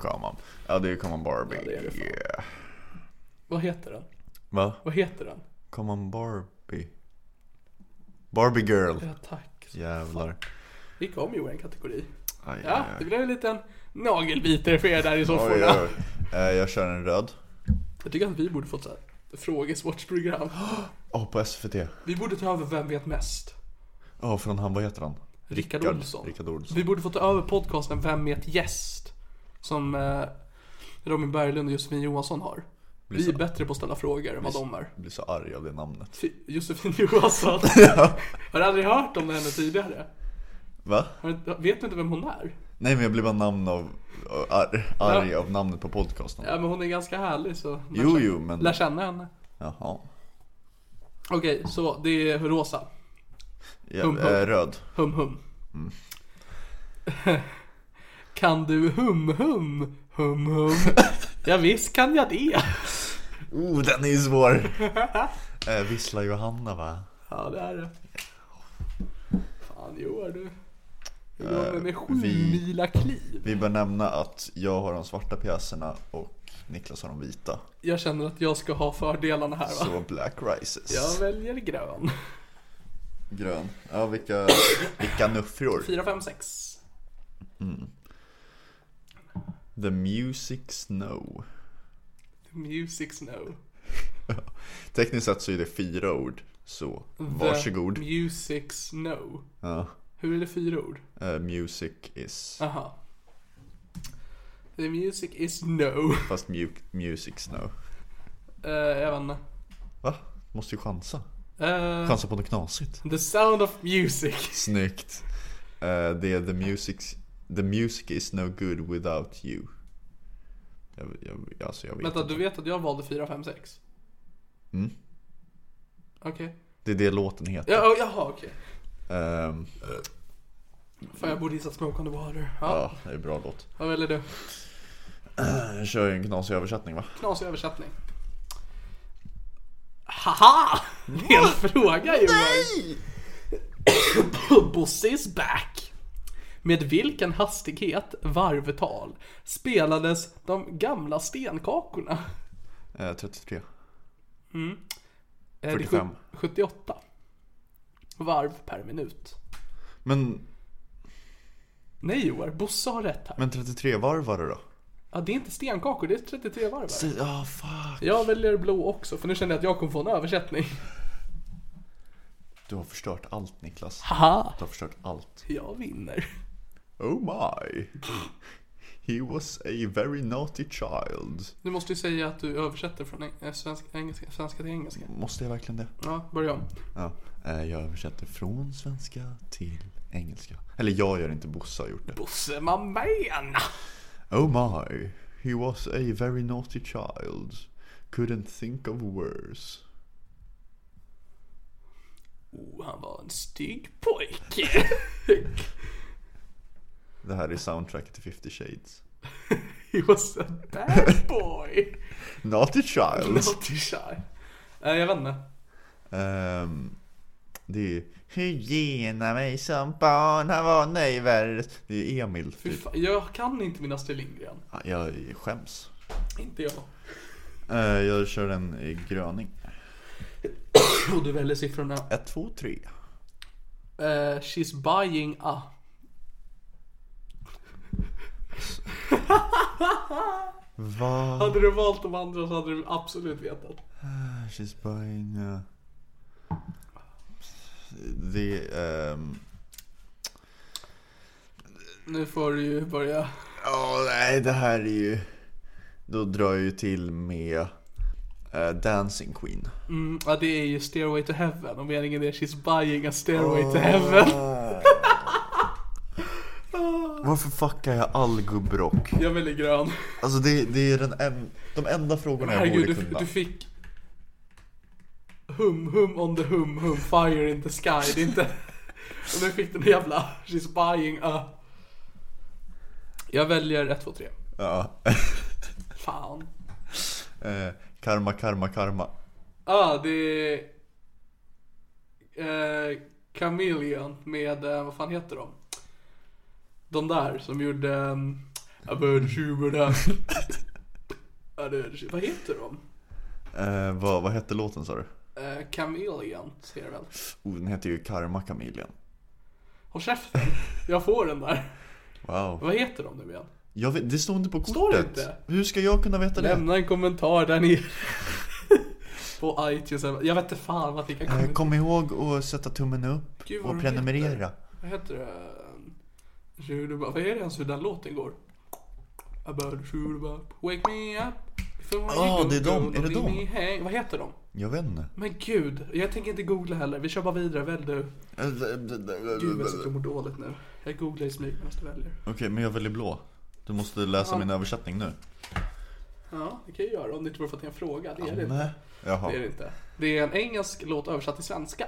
Speaker 3: Come on. Ja, det är Come on Barbie.
Speaker 2: det är det fan.
Speaker 3: yeah.
Speaker 2: Vad heter den?
Speaker 3: Va?
Speaker 2: Vad heter den?
Speaker 3: Come on Barbie. Barbie girl.
Speaker 2: Ja, tack.
Speaker 3: Jävlar.
Speaker 2: Vi kom ju i en kategori.
Speaker 3: Aj,
Speaker 2: Ja, det blev en liten nagelbitare för er där i
Speaker 3: Oj, oj,
Speaker 2: sofforna.
Speaker 3: oj. Eh, Jag kör en röd.
Speaker 2: Jag tycker att vi borde fått så här frågesportsprogram.
Speaker 3: Åh, på SVT.
Speaker 2: Vi borde ta över Vem vet mest?
Speaker 3: Ja, från han, vad heter han?
Speaker 2: Rickard
Speaker 3: Rickard-
Speaker 2: Olsson.
Speaker 3: Rickard Olsson.
Speaker 2: Vi borde få ta över podcasten Vem vet gäst? Som eh, Robin Berglund och Josefin Johansson har. Vi är bättre på att ställa frågor än vad de är.
Speaker 3: Jag blir så arg av det namnet.
Speaker 2: Fy- Josefin Johansson. Har du aldrig hört om henne tidigare?
Speaker 3: Va?
Speaker 2: Har du- Vet du inte vem hon är?
Speaker 3: Nej, men jag blir bara namn av, av- arg, arg av namnet på podcasten.
Speaker 2: Ja, men hon är ganska härlig så lär
Speaker 3: Jo,
Speaker 2: känna-
Speaker 3: jo, men-
Speaker 2: lär känna henne.
Speaker 3: Jaha.
Speaker 2: Okej, så det är rosa.
Speaker 3: Ja,
Speaker 2: Hum, hum.
Speaker 3: eh, röd.
Speaker 2: Hum hum. kan du hum hum? Hum hum. ja, visst kan jag det.
Speaker 3: Oh, den är ju svår! eh, Vissla Johanna va?
Speaker 2: Ja, det är det. Fan, Joar du. Jag går med, med sju
Speaker 3: Eh, vi-
Speaker 2: mila kliv.
Speaker 3: Vi bör nämna att jag har de svarta pjäserna och Niklas har de vita.
Speaker 2: Jag känner att jag ska ha fördelarna här va?
Speaker 3: Så Black Rises.
Speaker 2: Jag väljer grön.
Speaker 3: Grön. Ja, vilka, vilka nuffror.
Speaker 2: fyra fem sex
Speaker 3: The Music Snow.
Speaker 2: Music Snow.
Speaker 3: Tekniskt sett så är det fyra ord. Så varsågod.
Speaker 2: The Eh, music Snow.
Speaker 3: Ja.
Speaker 2: Hur är det fyra ord?
Speaker 3: Eh, music is.
Speaker 2: Aha. The music is no.
Speaker 3: Fast mu- music snow.
Speaker 2: Uh, jag vet inte.
Speaker 3: Va? Måste ju chansa.
Speaker 2: Eh,
Speaker 3: Chansa på något knasigt.
Speaker 2: the sound of music.
Speaker 3: Snyggt. Eh, det är the music, the music is no good without you. Jag, jag, alltså jag vet
Speaker 2: Vänta,
Speaker 3: inte.
Speaker 2: du vet att jag valde 4, 5, 6?
Speaker 3: Mm.
Speaker 2: Okej.
Speaker 3: Det är det låten heter.
Speaker 2: Ja, oh, jaha, okej.
Speaker 3: Ehm,
Speaker 2: Fan, jag borde gissa Smoke on the Water. Ja,
Speaker 3: ja, det är en bra låt.
Speaker 2: vad väljer du?
Speaker 3: Jag kör ju en knasig översättning va?
Speaker 2: Knasig översättning. Haha! Det är en fråga Johan! Bosse is back! Med vilken hastighet, varvtal, spelades de gamla stenkakorna?
Speaker 3: Eh, 33.
Speaker 2: Eh, det är
Speaker 3: 45.
Speaker 2: sju- 78 varv per minut.
Speaker 3: Men,
Speaker 2: Nej Joar, Bosse har rätt här.
Speaker 3: men 33 varvare då?
Speaker 2: Ja, det är inte stenkakor, det är 33 varv. här.
Speaker 3: Ja, fuck.
Speaker 2: Jag väljer blå också, för nu känner jag att jag kommer få en översättning.
Speaker 3: Du har förstört allt Niklas.
Speaker 2: Haha!
Speaker 3: Du har förstört allt.
Speaker 2: Jag vinner.
Speaker 3: Oh my. He was a very naughty child.
Speaker 2: Du måste ju säga att du översätter från eng- eh, svensk, engelska, svenska till engelska.
Speaker 3: Måste jag verkligen det?
Speaker 2: Ja, börja om.
Speaker 3: Ja. Eh, Jag översätter från svenska till engelska. Eller jag gör inte, Bosse har gjort det.
Speaker 2: Bosse Mamén!
Speaker 3: Oh my. He was a very naughty child. Couldn't think of worse.
Speaker 2: Oh, han var en stygg pojke.
Speaker 3: Det här är soundtracket till 50 shades.
Speaker 2: He was a bad boy.
Speaker 3: Naughty child.
Speaker 2: Naughty shy. Eh, Jag vet inte.
Speaker 3: Ehm, Det är ju Hygiena mig som barn har var nöjvärd. Det är Emil.
Speaker 2: Fy
Speaker 3: Typ.
Speaker 2: fan, jag kan inte min Astrid Lindgren.
Speaker 3: Ja, Jag skäms.
Speaker 2: Inte jag.
Speaker 3: Eh, Jag kör en eh, gröning.
Speaker 2: Och du väljer siffrorna.
Speaker 3: Ett, två, tre.
Speaker 2: Eh, she's buying a.
Speaker 3: Vad?
Speaker 2: Hade du valt de andra så hade du absolut vetat.
Speaker 3: She's buying uh, the um,
Speaker 2: Nu får du ju börja.
Speaker 3: Åh nej det här är ju Då drar jag ju till med eh, Dancing Queen
Speaker 2: Mm, ja, det är ju Stairway to Heaven och meningen är She's buying a stairway
Speaker 3: Ah.
Speaker 2: to heaven.
Speaker 3: Varför fuckar jag all gubbrock?
Speaker 2: Jag väljer grön.
Speaker 3: Alltså det, det är den en, de enda frågorna jag
Speaker 2: Herregud,
Speaker 3: borde
Speaker 2: du,
Speaker 3: kunna
Speaker 2: du fick... Hum, hum on the hum, hum, fire in the sky. Det är inte... Och nu fick du den jävla She's buying a... Jag väljer 1, 2, 3.
Speaker 3: ja.
Speaker 2: Fan.
Speaker 3: Eh, Karma, karma, karma
Speaker 2: Ja, ah, det är... Eh, Chameleon med, eh, vad fan heter de? De där som gjorde... Um, About you, där. Ja, det- Vad heter de?
Speaker 3: eh, vad, vad hette låten sa du?
Speaker 2: Eh, Chameleon, ser jag väl.
Speaker 3: Oh, den heter ju Karma Kamiljan
Speaker 2: Håll käften, jag får den där.
Speaker 3: Wow
Speaker 2: Vad heter de nu igen?
Speaker 3: jag vet, Det står inte på kortet
Speaker 2: Står det inte?
Speaker 3: Hur ska jag kunna veta det?
Speaker 2: Lämna en kommentar där nere. På iTunes, jag vet inte fan vad jag kan
Speaker 3: Eh,
Speaker 2: kommentera.
Speaker 3: Kom ihåg att sätta tummen upp
Speaker 2: Gud, vad
Speaker 3: och
Speaker 2: de
Speaker 3: prenumerera.
Speaker 2: heter. Vad heter det? Shuruba. Vad är det ens hur den låten går? About shuruba, wake me up.
Speaker 3: Ah, det är dem. Är det dem?
Speaker 2: dem? Vad heter de?
Speaker 3: Jag vet inte.
Speaker 2: Men gud, jag tänker inte googla heller. Vi kör bara vidare, välj du. Gud vad jag sitter och mår dåligt nu. Jag googlar i smyg medan du väljer.
Speaker 3: Okej, men jag väljer blå. Du måste läsa min översättning nu.
Speaker 2: Ja, det kan jag göra om det inte vore för att det är en fråga. Det är det inte.
Speaker 3: Nej. Jaha.
Speaker 2: Typ. Det är det inte. Det är en engelsk låt översatt till svenska.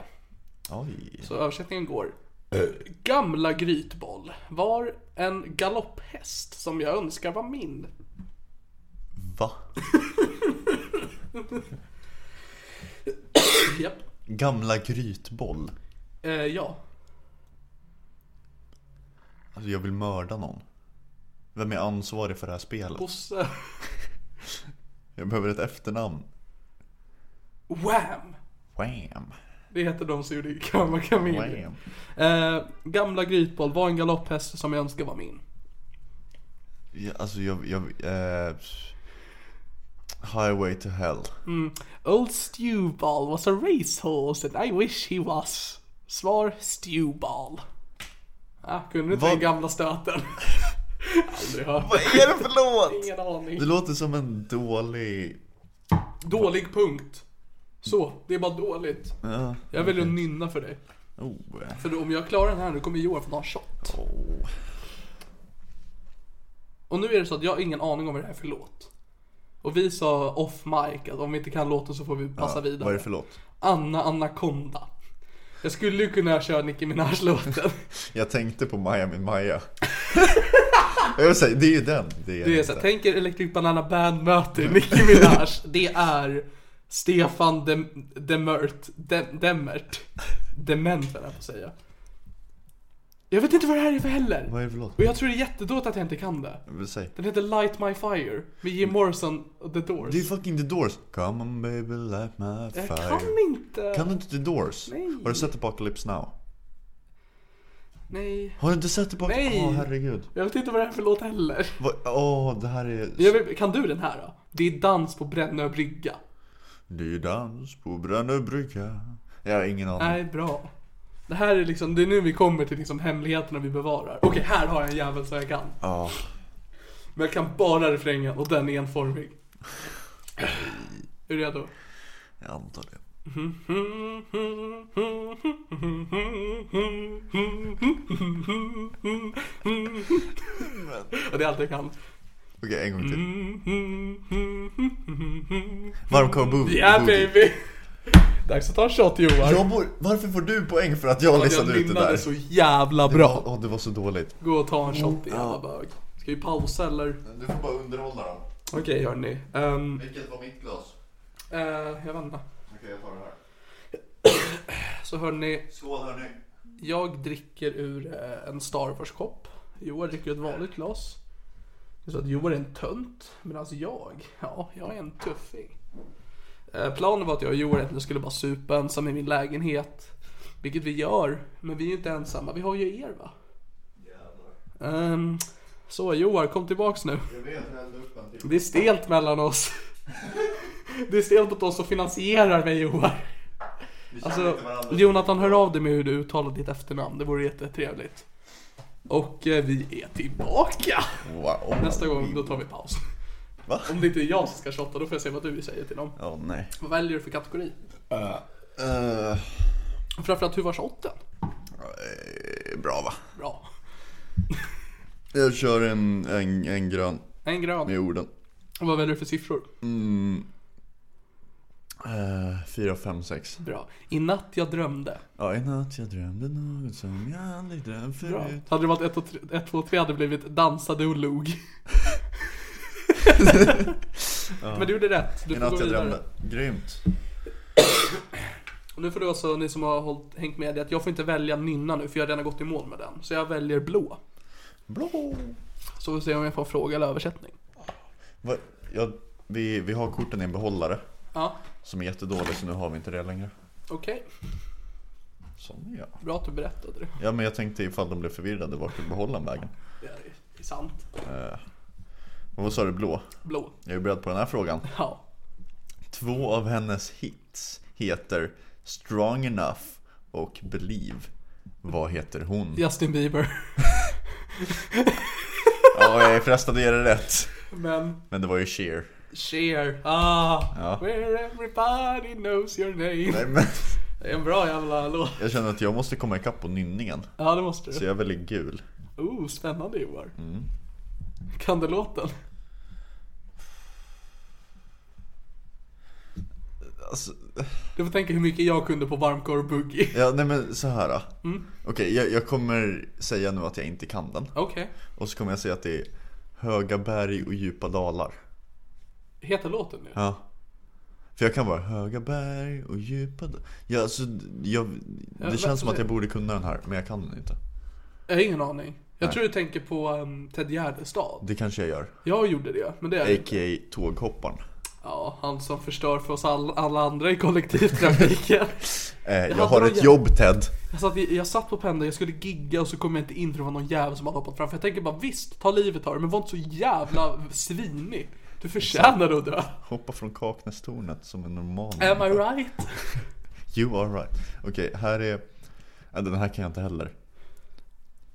Speaker 3: Oj.
Speaker 2: Så översättningen går.
Speaker 3: Eh.
Speaker 2: Gamla grytboll var en galopphäst som jag önskar var min.
Speaker 3: Va?
Speaker 2: Japp.
Speaker 3: Gamla grytboll.
Speaker 2: Eh, ja.
Speaker 3: Alltså jag vill mörda någon. Vem är ansvarig för det här spelet?
Speaker 2: Bosse.
Speaker 3: Jag behöver ett efternamn.
Speaker 2: Wham!
Speaker 3: Wham.
Speaker 2: Det heter de som gjorde Gamla Kamelen.
Speaker 3: Wham.
Speaker 2: Eh, gamla Grytboll var en galopphäst som jag önskar var min.
Speaker 3: Ja, alltså jag... jag eh, highway to hell.
Speaker 2: Mm. Old Stewball was a racehorse and I wish he was. Svar Stewball. Ah, kunde du inte
Speaker 3: Vad-
Speaker 2: den gamla stöten? Aldrig hört.
Speaker 3: Vad är det för låt?
Speaker 2: Ingen aning.
Speaker 3: Det låter som en dålig...
Speaker 2: Dålig punkt. Så, det är bara dåligt.
Speaker 3: Ja.
Speaker 2: Jag väljer att nynna för dig.
Speaker 3: Oh.
Speaker 2: För då, om jag klarar den här nu kommer Johan få ta en shot.
Speaker 3: Oh.
Speaker 2: Och nu är det så att jag har ingen aning om vad det här är för låt. Och vi sa off mic att om vi inte kan låten så får vi passa vidare.
Speaker 3: Vad är det för låt?
Speaker 2: Anna Anaconda. Jag skulle ju kunna köra Nicki Minaj-låten.
Speaker 3: Jag tänkte på Maja min Maja. jag vill säga, det är ju den. Det är,
Speaker 2: Det är såhär, tänk er Electric Banana Band möter Nicki Minaj. Det är Stefan Dem- Demert. Dem- Demert. Dement höll jag på att säga. Jag vet inte vad det här är för heller.
Speaker 3: Vad är det för låt?
Speaker 2: Och jag tror det är jättedåligt att jag inte kan det.
Speaker 3: Jag vill säga.
Speaker 2: Den heter Light My Fire med Jim Morrison och The Doors.
Speaker 3: Det är fucking The Doors. Come on baby light my
Speaker 2: Jag
Speaker 3: fire.
Speaker 2: kan inte.
Speaker 3: Kan du inte The Doors?
Speaker 2: Nej.
Speaker 3: Har du sett Apocalypse Now?
Speaker 2: Nej.
Speaker 3: Har du inte sett Apocalypse
Speaker 2: Nej.
Speaker 3: Åh herregud.
Speaker 2: Jag vet inte vad det är för låt heller.
Speaker 3: Vad- Åh, det här är...
Speaker 2: Jag vet, kan du den här då? Det är dans på Brännö brygga.
Speaker 3: Det är dans på Brännö brygga. Jag har ingen aning.
Speaker 2: Nej, bra. Det här är liksom, det är nu vi kommer till liksom hemligheterna vi bevarar. Okej, här har jag en jävel som jag kan.
Speaker 3: Ja.
Speaker 2: Men jag kan bara refrängen och den är enformig. Är du redo?
Speaker 3: Jag antar det.
Speaker 2: Och det är allt jag kan.
Speaker 3: Okej, en gång
Speaker 2: Mm.
Speaker 3: till. Varm korv bo-
Speaker 2: Yeah
Speaker 3: booty.
Speaker 2: baby! Dags att ta en shot Johan.
Speaker 3: Jag bor... Varför får du poäng för att jag
Speaker 2: jag
Speaker 3: listade ut det
Speaker 2: nynnade
Speaker 3: där?
Speaker 2: så jävla
Speaker 3: Bra.
Speaker 2: bra.
Speaker 3: Åh, det var så dåligt.
Speaker 2: Gå och ta en shot din jävla bög. Ska vi pausa eller?
Speaker 3: Du får bara underhålla dem.
Speaker 2: Okej hörni. Ehm,
Speaker 3: Vilket var mitt glas?
Speaker 2: eh, jag vet inte.
Speaker 3: Okej, jag tar det här.
Speaker 2: Så hörni,
Speaker 3: Skål hörni.
Speaker 2: jag dricker ur eh, en Star Wars-kopp. Joar dricker ur ett vanligt glas. Det är så att Joar är en tönt, medan jag, ja, jag är en tuffing. Eh, Planen var att jag och Joar egentligen skulle bara supa ensam i min lägenhet. Vilket vi gör, men vi är ju inte ensamma. Vi har ju er va? Ehm, så Joar, kom tillbaks nu.
Speaker 3: Jag vet, jag hällde upp en till.
Speaker 2: Det är stelt mellan oss. Det är stelt åt oss som finansierar mig Johan.
Speaker 3: Vi
Speaker 2: Alltså, Jonathan hör av dig med hur du uttalar ditt efternamn. Det vore jättetrevligt. Och eh, vi är tillbaka!
Speaker 3: Wow.
Speaker 2: Nästa gång, då tar vi paus.
Speaker 3: Va?
Speaker 2: Om det inte är jag som ska shotta, då får jag se vad du säger till dem.
Speaker 3: Åh nej.
Speaker 2: Vad väljer du för kategori?
Speaker 3: Eh,
Speaker 2: Och Framförallt, hur var shotten?
Speaker 3: eh, bra va?
Speaker 2: Bra.
Speaker 3: Jag kör en, en, en grön
Speaker 2: En grön.
Speaker 3: med orden.
Speaker 2: Och vad väljer du för siffror?
Speaker 3: Uh, 4, 5, 6.
Speaker 2: Bra. I natt jag drömde.
Speaker 3: Ja, i natt jag drömde något som jag aldrig drömt
Speaker 2: Bra.
Speaker 3: förut.
Speaker 2: Hade det varit 1, 2, 3, ett, två, tre hade det blivit dansade och log. Men du gjorde rätt. Du
Speaker 3: I
Speaker 2: får
Speaker 3: natt
Speaker 2: gå
Speaker 3: jag
Speaker 2: vidare.
Speaker 3: drömde. Grymt.
Speaker 2: Och nu får du också, ni som har hållit, hängt med i att jag får inte välja nynna nu för jag har redan gått i mål med den. Så jag väljer blå.
Speaker 3: Blå.
Speaker 2: Så vi får se om jag får en fråga eller översättning.
Speaker 3: Va? Ja, vi, vi har korten i en behållare
Speaker 2: Ja,
Speaker 3: som är jättedålig så nu har vi inte det längre.
Speaker 2: okej.
Speaker 3: Sån är jag.
Speaker 2: Bra att du berättade det.
Speaker 3: Ja, men jag tänkte ifall de blev förvirrade vart tog behållaren vägen?
Speaker 2: Det är- det är sant.
Speaker 3: Och vad sa du, blå?
Speaker 2: Blå.
Speaker 3: Jag är beredd på den här frågan.
Speaker 2: Ja.
Speaker 3: Två av hennes hits heter Strong Enough och Believe. Vad heter hon? Ja,
Speaker 2: Justin Bieber.
Speaker 3: jag är frestad att ge det rätt.
Speaker 2: Men
Speaker 3: Men det var ju Cher.
Speaker 2: Cher. Ah,
Speaker 3: Ja.
Speaker 2: where everybody knows your name.
Speaker 3: Nej, men
Speaker 2: Det är en bra jävla låt.
Speaker 3: jag känner att jag måste komma ikapp på nynningen.
Speaker 2: Ja, det måste
Speaker 3: Så
Speaker 2: du.
Speaker 3: jag väljer gul.
Speaker 2: Oh, spännande Joar. Kan du låten?
Speaker 3: Alltså,
Speaker 2: Du får tänka hur mycket jag kunde på varmkorv och boogie.
Speaker 3: ja, nej men så här. då. Okej, jag, jag kommer säga nu att jag inte kan den.
Speaker 2: Okej.
Speaker 3: Och så kommer jag säga att det är höga berg och djupa dalar.
Speaker 2: Heter låten nu?
Speaker 3: Ja. För jag kan bara höga berg och djupa dalar. Ja, alltså, jag, det
Speaker 2: men-
Speaker 3: känns som att jag borde kunna den här, men jag kan den inte.
Speaker 2: Jag har ingen aning. Jag tror du tänker på um, Ted Gärdestad.
Speaker 3: Det kanske jag gör.
Speaker 2: Jag gjorde det, men det är inte.
Speaker 3: A.k.a. tåghopparen.
Speaker 2: Ja, han som förstör för oss all, alla andra i kollektivtrafiken.
Speaker 3: Eh, jag
Speaker 2: hade
Speaker 3: har
Speaker 2: någon
Speaker 3: ett
Speaker 2: jävla-
Speaker 3: jobb Ted.
Speaker 2: jag, satt, i- jag satt på pendeln, jag skulle gigga och så kom jag inte in för det var någon jävel som hade hoppat framför. Jag tänker bara visst, ta livet av dig, men var inte så jävla svinig. Du förtjänar att dö.
Speaker 3: Hoppa från Kaknästornet som en normal
Speaker 2: Am I
Speaker 3: människa.
Speaker 2: right?
Speaker 3: You are right. Okej, här är... Ja, Den här kan jag inte heller.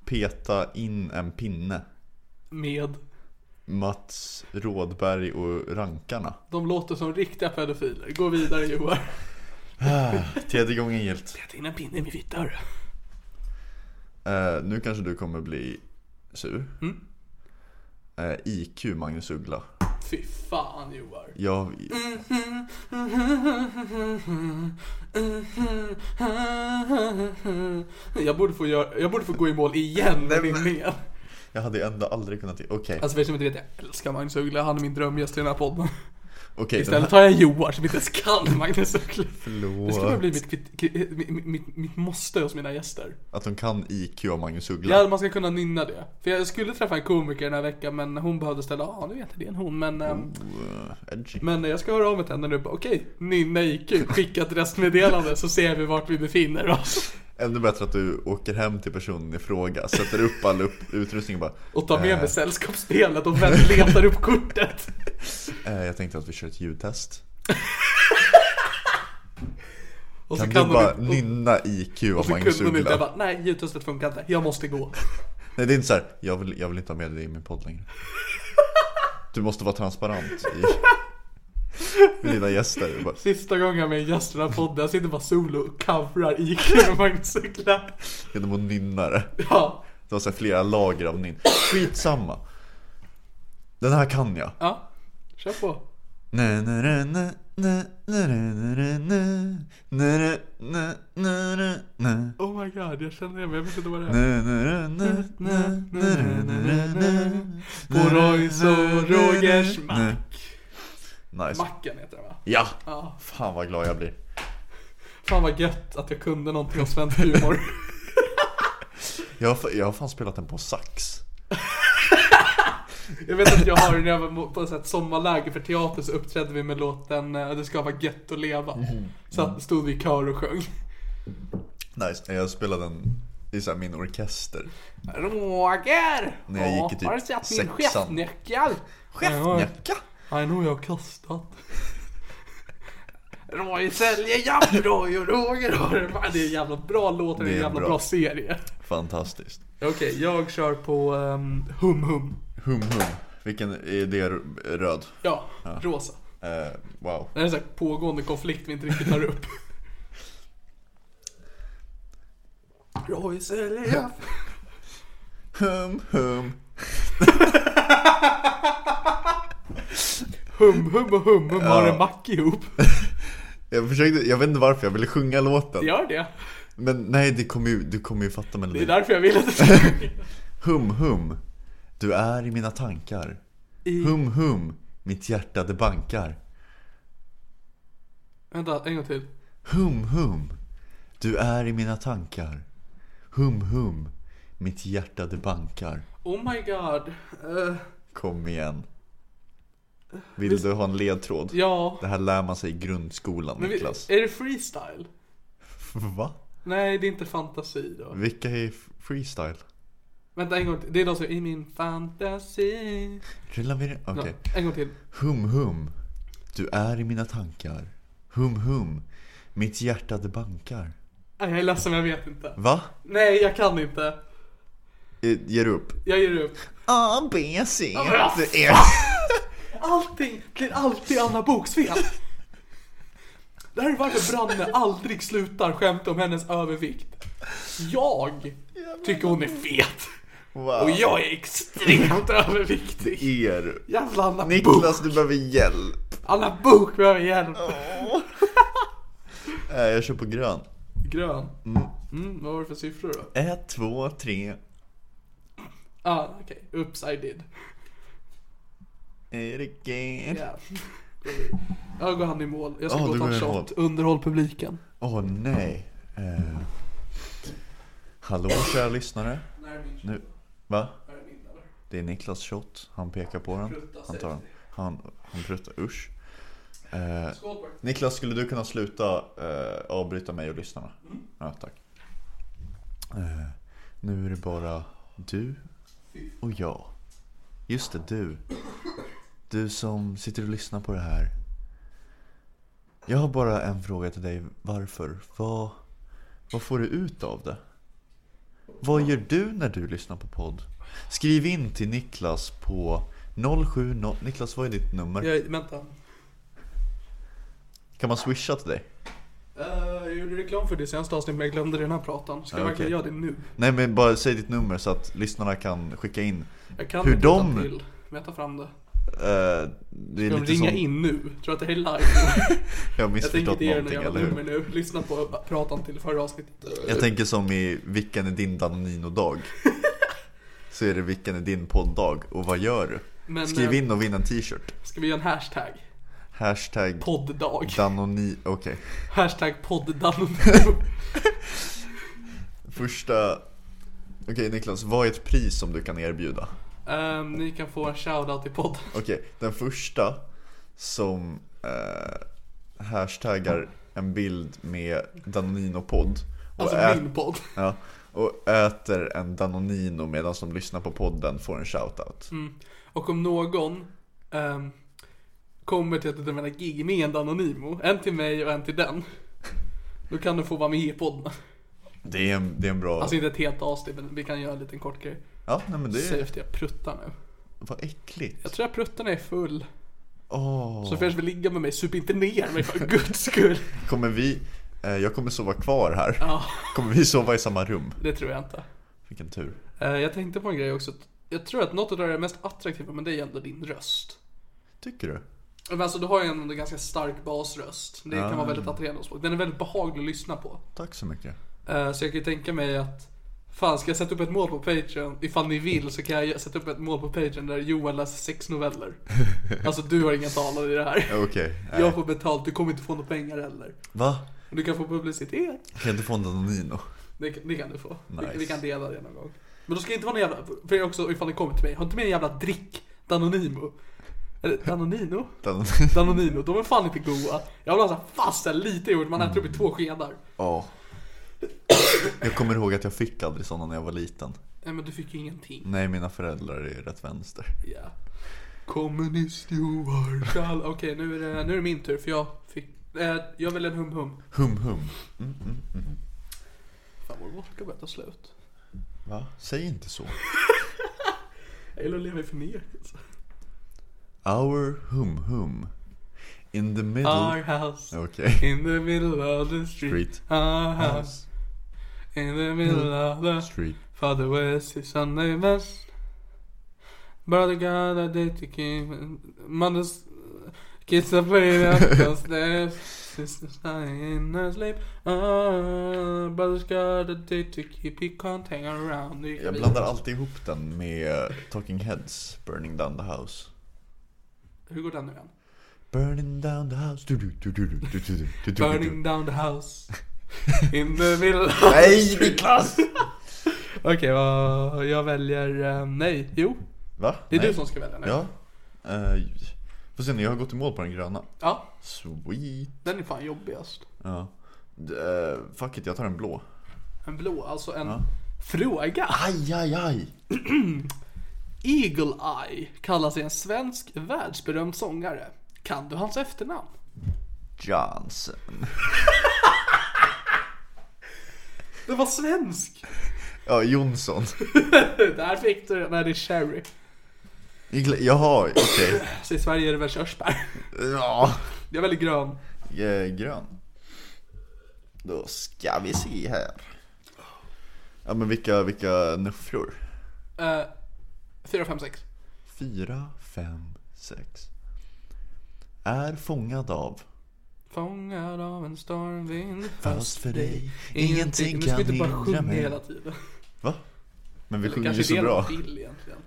Speaker 3: Peta in en pinne.
Speaker 2: Med.
Speaker 3: Mats Rådberg och rankarna.
Speaker 2: De låter som riktiga pedofiler. Gå vidare Johan.
Speaker 3: Tredje gången gillt.
Speaker 2: Jag in en pinne i min fitta hörru.
Speaker 3: Eh, nu kanske du kommer bli sur.
Speaker 2: Mm.
Speaker 3: Eh, IQ Magnus Uggla.
Speaker 2: Fy fan Johan.
Speaker 3: Jag...
Speaker 2: Jag borde få, göra, jag borde få gå i mål igen med min men...
Speaker 3: Jag hade ändå aldrig kunnat... Okej, okej.
Speaker 2: Alltså för er som inte vet, jag älskar Magnus Uggla, han är min drömgäst i den här podden.
Speaker 3: den
Speaker 2: Istället
Speaker 3: här-
Speaker 2: tar jag Joar som inte ens kan Magnus Uggla. Det ska bara
Speaker 3: Förlåt.
Speaker 2: bli mitt, mitt, mitt, mitt, mitt måste hos mina gäster.
Speaker 3: Att de kan IQ och Magnus Uggla.
Speaker 2: Ja, man ska kunna nynna det. För jag skulle träffa en komiker den här veckan, men hon behövde ställa, ja nu vet jag det är en hon, men... ehm,
Speaker 3: Oh, eh, edgy.
Speaker 2: Men jag ska höra av mig till henne nu bara, okej, nynna IQ, skicka ett röstmeddelande så ser vi vart vi befinner oss.
Speaker 3: Ännu bättre att du åker hem till personen i fråga, sätter upp all upp utrustning och bara
Speaker 2: Och ta med mig sällskapsspelet och vem letar upp kortet.
Speaker 3: eh, Jag tänkte att vi kör ett ljudtest.
Speaker 2: Och
Speaker 3: Kan,
Speaker 2: hon
Speaker 3: du bara
Speaker 2: inte-
Speaker 3: nynna IQ av
Speaker 2: och så
Speaker 3: Magnus
Speaker 2: kunde hon inte, jag
Speaker 3: Uggla?
Speaker 2: bara, nej ljudtestet funkar inte, jag måste gå.
Speaker 3: Nej det är inte så här. Jag, vill, jag vill inte ha med dig i min podd längre. Du måste vara transparent i, med dina gäster. Du Bara,
Speaker 2: Sista gången jag är med i gästerna i den här podden, jag sitter bara solo och covrar IQ och Magnus Uggla.
Speaker 3: genom att nynna det.
Speaker 2: Ja,
Speaker 3: Det var så här flera lager av nynn. Skitsamma. Den här kan jag.
Speaker 2: ja, kör på.
Speaker 3: Nä, nä, nä, nä, nä, nä, nä, nä, nä, nä, nä, nä, nä, nä, nä.
Speaker 2: Oh my god, jag känner igen mig, jag vet inte vad det är.
Speaker 3: På
Speaker 2: På Roys och Rogers mack.
Speaker 3: Nice.
Speaker 2: Macken heter den va?
Speaker 3: Ja!
Speaker 2: Ja.
Speaker 3: Fan vad glad jag blir.
Speaker 2: Fan vad gött att jag kunde någonting om svensk humor.
Speaker 3: Jag har, fa- jag har fan spelat den på sax.
Speaker 2: Jag vet att jag har, när jag var på ett sånt här sommarläger för teater så uppträdde vi med låten eh, Det ska vara gött att leva.
Speaker 3: Mhm.
Speaker 2: Så
Speaker 3: Mm.
Speaker 2: att- stod vi i kör och sjöng.
Speaker 3: Nice. Jag spelade den i så här min orkester.
Speaker 2: Roger!
Speaker 3: När jag gick i typ
Speaker 2: Har du sett min
Speaker 3: sexan.
Speaker 2: chefsnyckel?
Speaker 3: Chefnäcka!
Speaker 2: Nej, nog har jag kastat. Roger säljer Jamroy och Roger har en vagn. Det är en jävla bra låt och det är en jävla bra, serie.
Speaker 3: Fantastiskt.
Speaker 2: Okej, jag kör på ehm, Hum Hum.
Speaker 3: Hum hum. Vilken är det r- röd?
Speaker 2: Ja, rosa.
Speaker 3: Eh, wow.
Speaker 2: Det är en sån här pågående konflikt vi inte riktigt tar upp. Roy säljer Jamroy.
Speaker 3: Hum hum.
Speaker 2: Hum Hum och Hum Hum har en mack ihop.
Speaker 3: Jag försökte, jag vet inte varför jag ville sjunga låten.
Speaker 2: Gör det.
Speaker 3: Men nej, det kommer ju, du kommer ju fatta
Speaker 2: Det är
Speaker 3: melodin.
Speaker 2: därför jag vill att du ska
Speaker 3: Hum hum. Du är i mina tankar. Hum hum. Mitt hjärta det bankar.
Speaker 2: Vänta, en gång till.
Speaker 3: Hum hum, du är i mina tankar. Hum hum, mitt hjärta det bankar.
Speaker 2: Oh my god. Eh,
Speaker 3: Kom igen. Vill du ha en ledtråd?
Speaker 2: ja.
Speaker 3: Det här lär man sig i grundskolan
Speaker 2: Men vi, eh.
Speaker 3: Niklas.
Speaker 2: är det freestyle?
Speaker 3: Va?
Speaker 2: Nej, det är inte fantasi då.
Speaker 3: Vilka är f- freestyle?
Speaker 2: Vänta en gång till. Det är de som är i min fantasi.
Speaker 3: Rullar vi det? Okej.
Speaker 2: Ja, En gång till.
Speaker 3: Hum hum, du är i mina tankar. Hum hum, mitt hjärta det bankar.
Speaker 2: Nej, jag är ledsen, jag vet inte.
Speaker 3: Va?
Speaker 2: Nej, jag kan inte.
Speaker 3: Eh, Ger du upp?
Speaker 2: Jag ger upp.
Speaker 3: A, B, C.
Speaker 2: vad
Speaker 3: Det är...
Speaker 2: Allting blir alltid Anna Boks fel. Det här är varför Branne aldrig slutar skämta om hennes övervikt. Jag tycker hon är fet. Och
Speaker 3: Wow.
Speaker 2: jag är extremt överviktig.
Speaker 3: Det är...
Speaker 2: Jävla Anna Bok.
Speaker 3: Niklas, du behöver hjälp.
Speaker 2: Anna Bok behöver hjälp.
Speaker 3: Nej, Eh, jag kör på grön.
Speaker 2: Grön. Mm, vad var det för siffror då?
Speaker 3: Ett, två, tre.
Speaker 2: Ah, okej. Oops, I did.
Speaker 3: Erik
Speaker 2: Ja. Jag går han i mål. Jag ska
Speaker 3: Ja,
Speaker 2: gå och
Speaker 3: du
Speaker 2: ta en
Speaker 3: går i mål.
Speaker 2: shot. Underhåll publiken.
Speaker 3: Åh nej. Eh. Hallå kära lyssnare. Nu. Va? Det är Niklas shot. Han pekar på den. Han tar den. Han, han pruttar. Usch. Eh, Niklas, skulle du kunna sluta eh, avbryta mig och lyssnarna? Ja, tack. Eh, nu är det bara du och jag. Just det, du. Du som sitter och lyssnar på det här. Jag har bara en fråga till dig. Varför? Vad, vad får du ut av det? Vad gör du när du lyssnar på podd? Skriv in till Niklas på 070... Niklas, vad är ditt nummer?
Speaker 2: Jag, vänta.
Speaker 3: Kan man swisha till dig?
Speaker 2: Eh, jag gjorde reklam för det senaste avsnittet men jag glömde den här pratan. Ska jag
Speaker 3: Ja,
Speaker 2: verkligen
Speaker 3: Ah, okej.
Speaker 2: göra det nu?
Speaker 3: Nej men bara säg ditt nummer så att lyssnarna kan skicka in.
Speaker 2: Jag kan
Speaker 3: Hur
Speaker 2: inte
Speaker 3: de-
Speaker 2: ta till. Men jag tar fram det.
Speaker 3: Eh, det är
Speaker 2: De
Speaker 3: lite
Speaker 2: ringa
Speaker 3: som,
Speaker 2: in nu. Tror att det här är live?
Speaker 3: Jag har
Speaker 2: jag tänker
Speaker 3: missförstått
Speaker 2: inte ge er
Speaker 3: någonting,
Speaker 2: några jävla
Speaker 3: eller hur?
Speaker 2: nummer nu. Lyssna på pratan till förra avsnittet.
Speaker 3: Jag tänker som i Vilken är din Danonino-dag? så är det Vilken är din podd-dag? Och vad gör du?
Speaker 2: Men,
Speaker 3: Skriv
Speaker 2: eh,
Speaker 3: in och vinn en t-shirt.
Speaker 2: Ska vi göra en hashtag?
Speaker 3: Hashtag
Speaker 2: Podd-dag.
Speaker 3: Danoni... Okej.
Speaker 2: Hashtag podd-dag.
Speaker 3: Första... Okej Niklas, vad är ett pris som du kan erbjuda?
Speaker 2: Ehm, ni kan få en shoutout i podden.
Speaker 3: Okej, den första som eh, hashtaggar en bild med Danonino-podd och,
Speaker 2: Alltså
Speaker 3: ät-
Speaker 2: min podd.
Speaker 3: ja, och äter en Danonino medan de lyssnar på podden får en shoutout.
Speaker 2: Mm. Och om någon ehm, kommer till ett av mina gig med en Danonimo, en till mig och en till den. Då kan du få vara med i podden.
Speaker 3: Det, är en, det är en bra...
Speaker 2: Alltså inte ett helt avsnitt, men vi kan göra en liten kort grej.
Speaker 3: Ja, nej men det
Speaker 2: Säg
Speaker 3: är...
Speaker 2: efter jag pruttar nu.
Speaker 3: Vad äckligt.
Speaker 2: Jag tror jag pruttar när jag är full.
Speaker 3: Åh.
Speaker 2: Så för er som vill ligga med mig, sup inte ner mig för guds skull.
Speaker 3: Kommer vi... Eh, jag kommer sova kvar här.
Speaker 2: Ja,
Speaker 3: Kommer vi sova i samma rum?
Speaker 2: det tror jag inte.
Speaker 3: Vilken tur.
Speaker 2: Eh, jag tänkte på en grej också. Jag tror att något av det där mest attraktiva med dig är ändå din röst.
Speaker 3: Tycker du?
Speaker 2: Men alltså du har ju en ganska stark basröst. Det kan vara väldigt attraherande hos folk. Den är väldigt behaglig att lyssna på.
Speaker 3: Tack så mycket.
Speaker 2: Eh, Så jag kan ju tänka mig att Fan, ska jag sätta upp ett mål på Patreon? Ifall ni vill så kan jag sätta upp ett mål på Patreon där Johan läser sex noveller. Alltså du har ingen talan i det här.
Speaker 3: Okej. eh,
Speaker 2: Jag får betalt, du kommer inte få några pengar heller.
Speaker 3: Va?
Speaker 2: Du kan få publicitet.
Speaker 3: Jag kan inte få en Danonino.
Speaker 2: Det, kan- det kan du få. Vi-
Speaker 3: Nice.
Speaker 2: Vi kan dela det någon gång. Men då ska det inte vara någon jävla, för det är också ifall ni kommer till mig, har inte med en jävla drick Danonimo. Eller Danonino?
Speaker 3: Danonino.
Speaker 2: Danonino, de är fan inte goda. Jag vill ha så här fast här, lite jord, man äter upp i två skedar.
Speaker 3: Ja. Jag kommer ihåg att jag fick aldrig sådana när jag var liten.
Speaker 2: Nej men du fick ju ingenting.
Speaker 3: Nej, mina föräldrar är rätt vänster.
Speaker 2: Ja. Kommunist Johan Schall. Okej nu, är det- nu är det min tur för jag fick, eh, jag vill en hum hum.
Speaker 3: Hum hum.
Speaker 2: Fan vår vodka börjar ta slut.
Speaker 3: Va? Säg inte så.
Speaker 2: Jag gillar att leva i förnekelse.
Speaker 3: Our hum hum. In the
Speaker 2: Our
Speaker 3: middle...
Speaker 2: house.
Speaker 3: Okej.
Speaker 2: In the middle of the street.
Speaker 3: Street. Mm.
Speaker 2: Our house. In the middle of the
Speaker 3: Street.
Speaker 2: Father West, his Sunday best. Brother God, I did to keep. Mother's kids are playing up the stairs. Sisters lying in her sleep. Ah, brother's got a date to keep. He can't hang around. the-
Speaker 3: Jag blandar alltid ihop den med Talking Heads, Burning Down the House.
Speaker 2: Hur går den nu igen?
Speaker 3: Burning down the house. Du, du, du, du, du, du, du, du, du, du.
Speaker 2: Burning down the house. In the middle.
Speaker 3: Nej, Niklas!
Speaker 2: Okej, vad- jag väljer eh, nej. Jo,
Speaker 3: Va?
Speaker 2: det är
Speaker 3: Nej.
Speaker 2: du som ska välja nu.
Speaker 3: Ja. Uh, får se nu, jag har gått i mål på den gröna.
Speaker 2: ja,
Speaker 3: Sweet.
Speaker 2: den är fan jobbigast.
Speaker 3: Ja. D- eh, fuck it, jag tar en blå.
Speaker 2: En blå, alltså en fråga.
Speaker 3: Aj, aj, aj.
Speaker 2: Eagle Eye kallar sig en svensk världsberömd sångare. Kan du hans efternamn?
Speaker 3: Johnson.
Speaker 2: Det var svensk!
Speaker 3: Ja, Jonsson.
Speaker 2: Där fick du Nej, det är Sherry.
Speaker 3: Igla- Jaha, okej.
Speaker 2: Så i Sverige är det väl körsbär.
Speaker 3: Ja.
Speaker 2: Jag är väldigt grön.
Speaker 3: Eh, grön. Då ska vi se här. Ja, men vilka, vilka nuffror?
Speaker 2: Uh, 4, 5, 6.
Speaker 3: Fyra, fem, sex. Är fångad av.
Speaker 2: Fångad av en stormvind.
Speaker 3: Fast för dig, ingenting
Speaker 2: Nu ska vi
Speaker 3: kan
Speaker 2: inte bara sjunga
Speaker 3: hindra mig.
Speaker 2: hela tiden.
Speaker 3: Va? Men vi
Speaker 2: Eller
Speaker 3: sjunger ju
Speaker 2: kanske
Speaker 3: så
Speaker 2: det är någon
Speaker 3: bra.
Speaker 2: bild egentligen.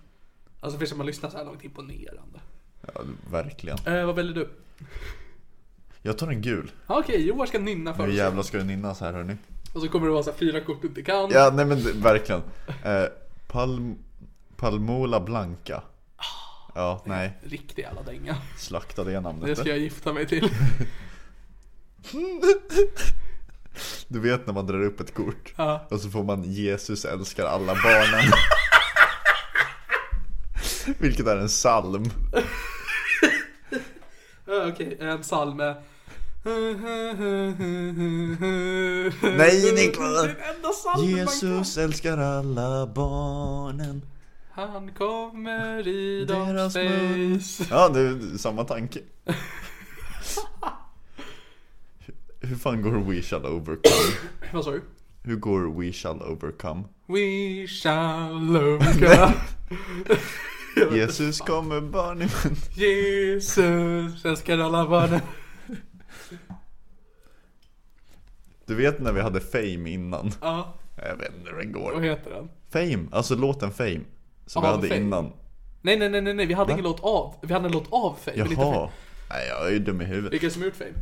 Speaker 2: Alltså för som har lyssnat så här långt, imponerande.
Speaker 3: Ja, verkligen.
Speaker 2: Eh, vad väljer du?
Speaker 3: Jag tar en gul.
Speaker 2: Ah, Okej, Joar ska nynna för
Speaker 3: Hur
Speaker 2: oss.
Speaker 3: jävla ska den innas här hörni?
Speaker 2: Och så kommer det vara så här, fyra kort du inte kan.
Speaker 3: Ja, nej men det- verkligen. Eh, palm, Palmola Blanca. Ja, nej.
Speaker 2: Riktig jävla dänga.
Speaker 3: Slakta det
Speaker 2: Ah. Det
Speaker 3: namnet.
Speaker 2: ska jag gifta mig till.
Speaker 3: Du vet när man drar upp ett kort.
Speaker 2: Ja.
Speaker 3: Och så får man Jesus älskar alla barnen. Vilket är en
Speaker 2: Oh
Speaker 3: psalm.
Speaker 2: Ja, Eh, Okej, en psalm med...
Speaker 3: Nej,
Speaker 2: Det
Speaker 3: Niklas.
Speaker 2: är den enda psalmen
Speaker 3: Jesus älskar alla barnen.
Speaker 2: man kan. Han kommer i deras
Speaker 3: Deras mun.
Speaker 2: face.
Speaker 3: Ja, det är samma tanke. Hur- Hur fan går We shall overcome?
Speaker 2: Vad sa du?
Speaker 3: Hur går We shall overcome?
Speaker 2: We shall overcome.
Speaker 3: Jesus kommer barn i mun.
Speaker 2: Jesus älskar alla barnen.
Speaker 3: Du vet när vi hade Fame innan?
Speaker 2: Ja,
Speaker 3: Jag vet inte hur den
Speaker 2: vad
Speaker 3: går.
Speaker 2: heter den?
Speaker 3: Fame, alltså låten Fame. Som vi
Speaker 2: Jaha,
Speaker 3: hade
Speaker 2: Fame.
Speaker 3: innan.
Speaker 2: Nej, nej, nej, nej, nej, vi hade ingen låt av. Vi hade en låt av Fame. men inte Fame.
Speaker 3: Jaha. Nej, jag är ju dum i huvudet.
Speaker 2: Vilka är det som gjort Fame?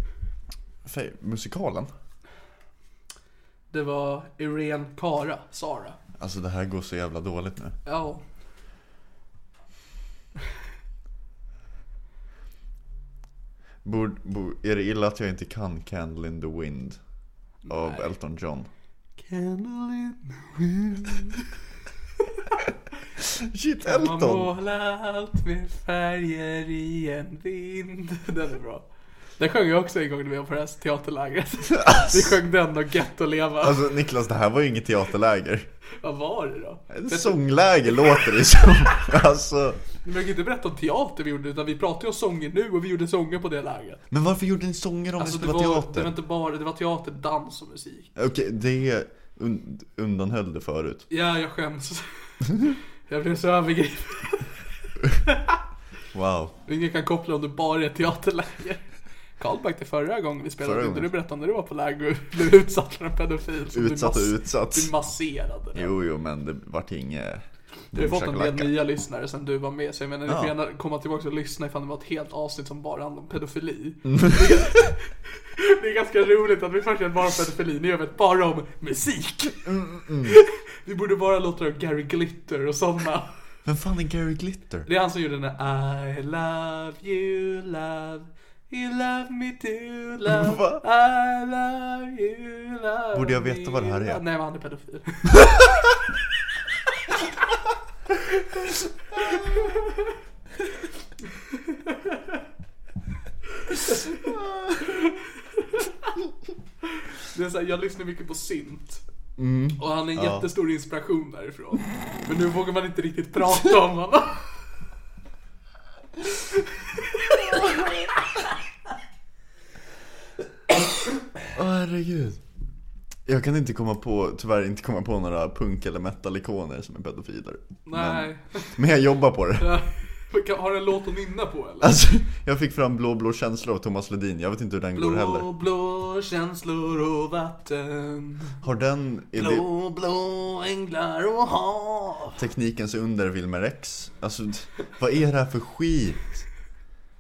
Speaker 3: Fame, musikalen?
Speaker 2: Det var Irene Cara, Sara.
Speaker 3: Alltså det här går så jävla dåligt nu.
Speaker 2: Ja.
Speaker 3: Bord, bord, är det illa att jag inte kan Candle in the Wind? Av Elton John.
Speaker 2: Candle in
Speaker 3: Shit,
Speaker 2: Man
Speaker 3: Elton!
Speaker 2: målar allt med färger i en vind. Den är bra. Den sjöng jag också en gång när vi var på det här teaterlägret. Vi sjöng den och Gött att leva.
Speaker 3: Alltså Niklas, det här var ju inget teaterläger.
Speaker 2: Vad var det då?
Speaker 3: Ett sångläger låter det som. Alltså.
Speaker 2: Men jag kan inte berätta om teater vi gjorde utan vi pratar ju om sånger nu och vi gjorde sånger på det lägret.
Speaker 3: Men varför gjorde ni sånger om
Speaker 2: Alltså
Speaker 3: ni
Speaker 2: det
Speaker 3: spelade
Speaker 2: var, det
Speaker 3: teater?
Speaker 2: var inte bara, det var teater, dans och musik.
Speaker 3: Okej, det un, undanhöll det förut.
Speaker 2: Ja, jag skäms. Jag blev så övergripen.
Speaker 3: Wow.
Speaker 2: Ingen kan koppla om det bara är ett teaterläger. Callback till förra gången vi spelade
Speaker 3: Förra
Speaker 2: in, där du
Speaker 3: gången.
Speaker 2: berättade om när du var på läger och blev utsatt för en pedofil. som du
Speaker 3: Utsatt och
Speaker 2: mass-
Speaker 3: utsatt.
Speaker 2: Du masserade den.
Speaker 3: Jo, jo, men det vart inget...
Speaker 2: Du har fått en del
Speaker 3: Shakalaka.
Speaker 2: nya lyssnare sen du var med, så jag menar ni får
Speaker 3: Ja. Mm.
Speaker 2: gärna komma tillbaka och lyssna ifall det var ett helt avsnitt som bara handlade om pedofili. Det är ganska roligt att vi först gör ett varmt pedofili, nu gör vi ett bara om musik.
Speaker 3: Mm,
Speaker 2: Vi borde bara låta det Gary Glitter och sådana.
Speaker 3: Vem fan är Gary Glitter?
Speaker 2: Det är han som gjorde den där I love you love You love me too love
Speaker 3: Va?
Speaker 2: I love you love
Speaker 3: Borde jag
Speaker 2: me
Speaker 3: veta vad det här är?
Speaker 2: love- Nej men han är pedofil. Det är så här, jag lyssnar mycket på synt.
Speaker 3: Mm.
Speaker 2: Och han är en jättestor inspiration därifrån. Men nu vågar man inte riktigt prata om honom.
Speaker 3: Åh herregud. Jag kan inte komma på, tyvärr inte komma på några punk eller metalikoner som är pedofiler.
Speaker 2: Nej.
Speaker 3: Men jag jobbar på det.
Speaker 2: Har du en låt att nynna på eller?
Speaker 3: Alltså, jag fick fram Blå blå känsla av Thomas Ledin. Jag vet inte hur den går heller.
Speaker 2: Blå, blå känslor och vatten.
Speaker 3: Har den, är det
Speaker 2: Blå, blå änglar och hav.
Speaker 3: teknikens under Wilmer X? Alltså, vad är det här för skit?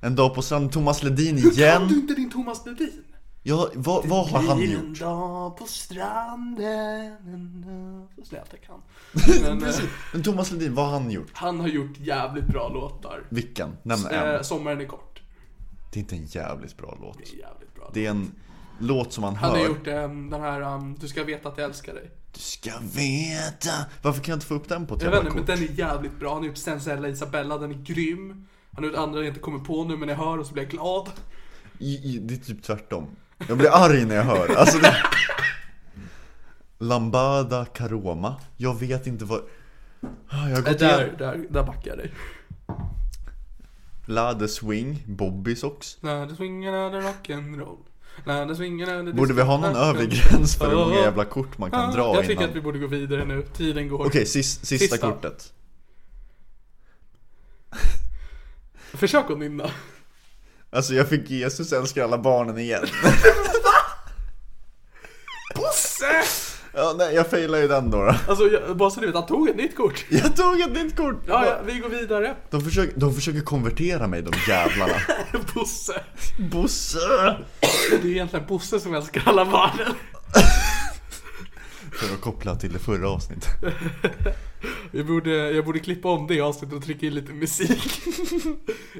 Speaker 3: En dag på stranden, Thomas Ledin
Speaker 2: Kan du
Speaker 3: igen?
Speaker 2: inte din Thomas Ledin?
Speaker 3: Ja, vad, vad har han
Speaker 2: Blir
Speaker 3: gjort?
Speaker 2: en dag på stranden. En dag på stranden. Jag kan. Men, eh,
Speaker 3: Men Thomas Ledin, vad har han gjort?
Speaker 2: han har gjort jävligt bra låtar.
Speaker 3: Vilken? Nämn
Speaker 2: Eh,
Speaker 3: en.
Speaker 2: sommaren är kort.
Speaker 3: Det är inte en jävligt bra låt.
Speaker 2: Det är jävligt bra.
Speaker 3: Det är en låt som man
Speaker 2: Han har
Speaker 3: hör.
Speaker 2: gjort eh, den här um, Du ska veta att jag älskar dig.
Speaker 3: Du ska veta. Varför kan jag inte få upp den på ett
Speaker 2: Jag vet
Speaker 3: jävla
Speaker 2: inte, men
Speaker 3: kort?
Speaker 2: den är jävligt bra. Han har gjort Sensella Isabella, den är grym. Han har gjort andra jag inte kommer på nu, men jag hör och så blir jag glad.
Speaker 3: I, i, det är typ tvärtom. Jag blir arg när jag hör. Alltså det... Lambada Caroma. Jag vet inte vad... Ah, Jag har
Speaker 2: Äh,
Speaker 3: gått
Speaker 2: där,
Speaker 3: igenom...
Speaker 2: där, där backar jag dig.
Speaker 3: La The Swing, Bobby Socks.
Speaker 2: När det swingar är det rock'n'roll. När det swingar är det
Speaker 3: Borde vi ha någon övre gräns för hur många jävla kort man kan dra
Speaker 2: Jag tycker
Speaker 3: innan?
Speaker 2: att vi borde gå vidare nu. Tiden går.
Speaker 3: Okej, sis, sista,
Speaker 2: Sista.
Speaker 3: kortet.
Speaker 2: Försök att nynna.
Speaker 3: Alltså jag fick Jesus älskar alla barnen igen.
Speaker 2: Bosse!
Speaker 3: ja, nej, jag failade ju den då. då.
Speaker 2: Alltså, jag, bara så du vet, han tog ett nytt kort.
Speaker 3: Jag tog ett nytt kort!
Speaker 2: Ja, ja, vi går vidare.
Speaker 3: De, försöker, de försöker konvertera mig de jävlarna.
Speaker 2: Bosse.
Speaker 3: Bosse!
Speaker 2: Det är egentligen Bosse som älskar alla barnen.
Speaker 3: För att koppla till det förra avsnittet.
Speaker 2: Jag borde, jag borde klippa om det avsnittet och trycka in lite musik.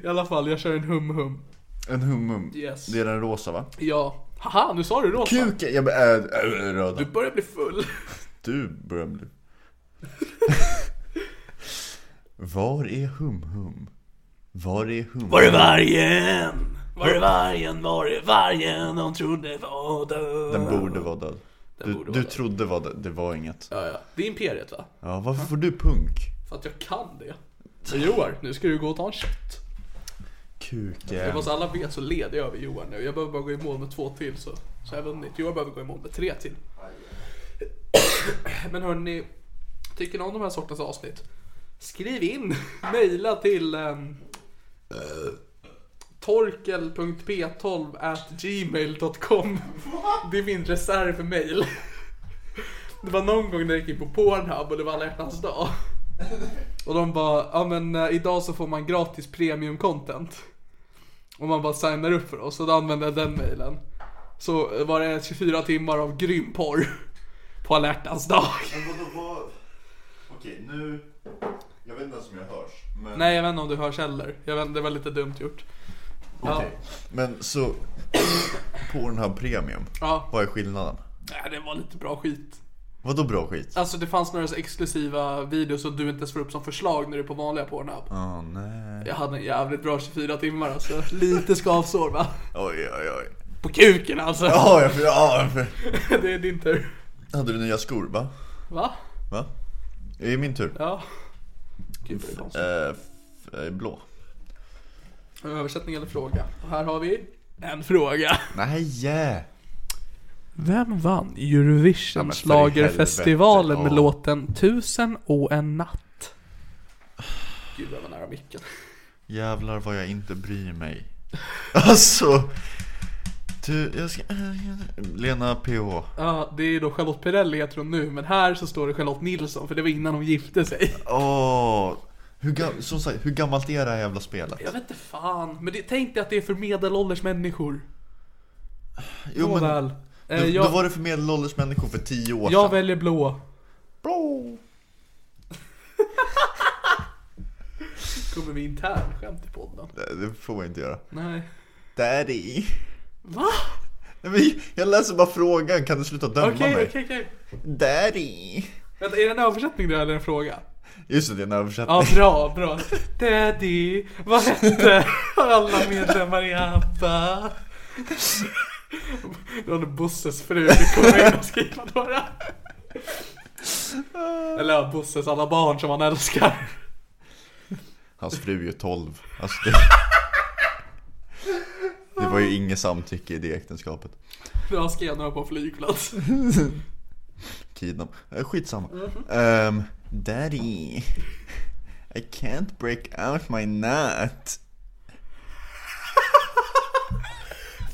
Speaker 2: I alla fall, jag kör en hum-hum.
Speaker 3: En humum.
Speaker 2: Yes.
Speaker 3: Det är den rosa va?
Speaker 2: Ja. Haha, nu sa du rosa.
Speaker 3: Kuken! Jag äh, äh, röda.
Speaker 2: Du
Speaker 3: Du,
Speaker 2: börjar bli full.
Speaker 3: börjar bli... Var är hum-hum? Var är hum?
Speaker 2: Var är vargen? Var är vargen? Var är vargen? De trodde var död.
Speaker 3: Den borde vara död. Du,
Speaker 2: borde
Speaker 3: du
Speaker 2: vara död.
Speaker 3: trodde var död. det var inget.
Speaker 2: Ja, ja. Det är Imperiet va?
Speaker 3: Ja, varför får du punk?
Speaker 2: För att jag kan det. Så Johan, nu ska du gå och ta en shot. Det
Speaker 3: Kuken.
Speaker 2: var så alla vet så leder jag över Johan nu. Jag behöver bara gå i mål med två till så, så har jag vunnit. Johan behöver gå i mål med tre till. Men hörni, tycker ni om de här sortens avsnitt? Skriv in! Mejla till um, torkel.p12 gmail.com Det är min reservmail. Det var någon gång när jag gick in på Pornhub och det var alla hjärtans dag. Och de bara, ja men eh, idag så får man gratis premium content. Om man bara signar upp för oss. Så då använde jag den mailen. Så var det 24 timmar av grym porr. På alla hjärtans dag.
Speaker 3: Okej, nu... Jag vet inte ens om jag hörs. Men...
Speaker 2: Nej jag vet inte om du hörs heller. Jag vet, det var lite dumt gjort. Ja,
Speaker 3: Men så... Pornhub Premium.
Speaker 2: ja.
Speaker 3: Vad är skillnaden?
Speaker 2: Nej, det var lite bra skit.
Speaker 3: Vadå bra skit?
Speaker 2: Alltså det fanns några så exklusiva videos som du inte ens får upp som förslag när du är på vanliga Pornhub.
Speaker 3: Åh nej.
Speaker 2: Jag hade en jävligt bra 24 timmar alltså. Lite skavsår va?
Speaker 3: Oj, oj, oj.
Speaker 2: På kuken alltså.
Speaker 3: Ja, jag för, ja, jag för.
Speaker 2: Det är din tur.
Speaker 3: Hade du nya skor, va?
Speaker 2: Va?
Speaker 3: Va? Det är min tur.
Speaker 2: Ja. Gud vad det är konstigt.
Speaker 3: Eh, f- eh, blå.
Speaker 2: Översättning eller fråga? Och här har vi en fråga.
Speaker 3: Nej! Yeah.
Speaker 2: Vem vann
Speaker 3: men
Speaker 2: Eurovision
Speaker 3: för schlagerfestivalen helvete, med ja.
Speaker 2: låten Tusen och en natt? Gud vad jag var nära micken.
Speaker 3: Jävlar vad jag inte bryr mig. Alltså. Du, jag ska... eh, Lena PH.
Speaker 2: Ja, det är då Charlotte Perrelli heter hon nu, men här så står det Charlotte Nilsson, för det var innan hon gifte sig.
Speaker 3: Åh. Hur, gam- som sagt, hur gammalt är det här jävla spelet?
Speaker 2: Jag vet inte fan, men det, tänk dig att det är för medelålders människor.
Speaker 3: Jo men,
Speaker 2: Nåväl. Eh,
Speaker 3: då,
Speaker 2: jag,
Speaker 3: då var det för medelålders människor för tio år
Speaker 2: jag
Speaker 3: sedan.
Speaker 2: väljer blå.
Speaker 3: Blå.
Speaker 2: Kommer vi internskämt i podden?
Speaker 3: Det- Det får jag inte göra.
Speaker 2: Nej.
Speaker 3: Daddy.
Speaker 2: Va?
Speaker 3: Nej, men Jag läser bara frågan, kan du sluta döma
Speaker 2: Okej,
Speaker 3: mig?
Speaker 2: okej, okej.
Speaker 3: Daddy.
Speaker 2: Vänta, är det en översättning där eller en fråga?
Speaker 3: Just det, det är en översättning.
Speaker 2: Ja, bra, bra. Daddy, vad hette alla medlemmar i ABBA? Det var nog Bosses fru, det kommer in och skriva några. Eller ja, Bosses alla barn som han älskar.
Speaker 3: Hans fru är ju 12. Alltså det... det var ju inget samtycke i det äktenskapet.
Speaker 2: Nu har skrev några på en flygplats.
Speaker 3: Kidnap. Eh, Skitsamma. Ehm, daddy. I can't break out my nut.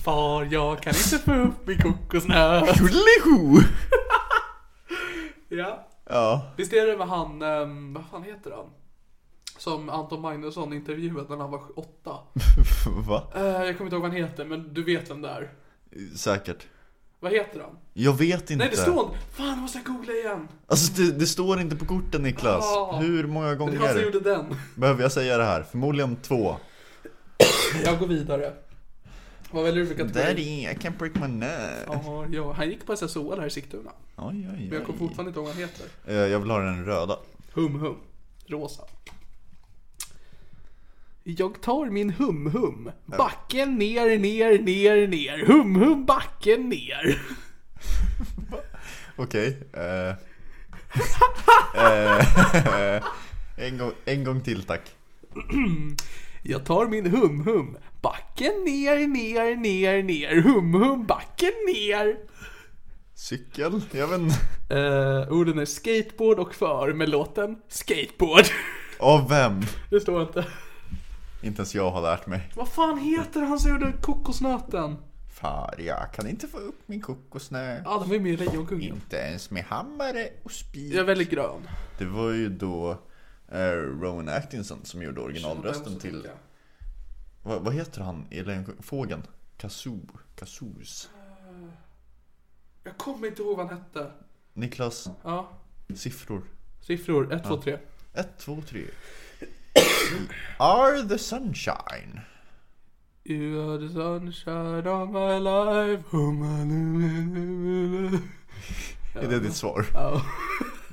Speaker 2: Far, jag kan inte få upp min kokosnöt.
Speaker 3: Tjoliho!
Speaker 2: Ja.
Speaker 3: Ja,
Speaker 2: Visst är det med han, ehm, vad fan heter han? Som Anton Magnusson intervjuade när han var åtta.
Speaker 3: va?
Speaker 2: Eh, jag kommer inte ihåg vad han heter, men du vet vem det är.
Speaker 3: Säkert.
Speaker 2: Vad heter han?
Speaker 3: Jag vet inte.
Speaker 2: Nej det står inte. Fan måste jag googla igen.
Speaker 3: Alltså det, det står inte på korten Niklas.
Speaker 2: Ah.
Speaker 3: Hur många
Speaker 2: Det var han som
Speaker 3: gånger
Speaker 2: gjorde den.
Speaker 3: behöver jag säga det här? Förmodligen två.
Speaker 2: Jag går vidare. Vad väljer du för kategori?
Speaker 3: Daddy, I can't break my nut.
Speaker 2: Ja, ja, han gick på SSOL här i Sigtuna.
Speaker 3: Oj, oj,
Speaker 2: Men jag kommer
Speaker 3: oj.
Speaker 2: fortfarande inte ihåg vad han heter.
Speaker 3: Eh, Jag vill ha den röda.
Speaker 2: Hum Hum. Rosa. Jag tar min hum-hum. Backen ner, ner, ner, ner. Hum-hum, backen ner.
Speaker 3: Okej. eh. eh, en, gång, en gång till tack.
Speaker 2: Jag tar min hum-hum. Backen ner, ner, ner, ner. Hum-hum, backen ner.
Speaker 3: Cykel? Jag vet inte.
Speaker 2: Uh, orden är skateboard och för med låten Skateboard.
Speaker 3: Av vem?
Speaker 2: Det står inte.
Speaker 3: Inte ens jag har lärt mig.
Speaker 2: Vad fan heter han som gjorde kokosnöten?
Speaker 3: Far, jag kan inte få upp min kokosnö.
Speaker 2: Ja, det var ju med i Lejonkungen.
Speaker 3: Inte ens med hammare och spik.
Speaker 2: Jag är väldigt grön.
Speaker 3: Det var ju då eh, Rowan Atkinson som gjorde originalrösten till... Vad, vad heter han i Lejonkungen? Fågeln? Kazoo? Kazoos?
Speaker 2: Jag kommer inte ihåg vad han hette.
Speaker 3: Niklas,
Speaker 2: Ja,
Speaker 3: siffror.
Speaker 2: siffror. 1, 2, 3.
Speaker 3: 1, 2, 3. Are the sunshine.
Speaker 2: You are the sunshine of my life. Oh, my little-
Speaker 3: Är det ditt svar?
Speaker 2: Ja.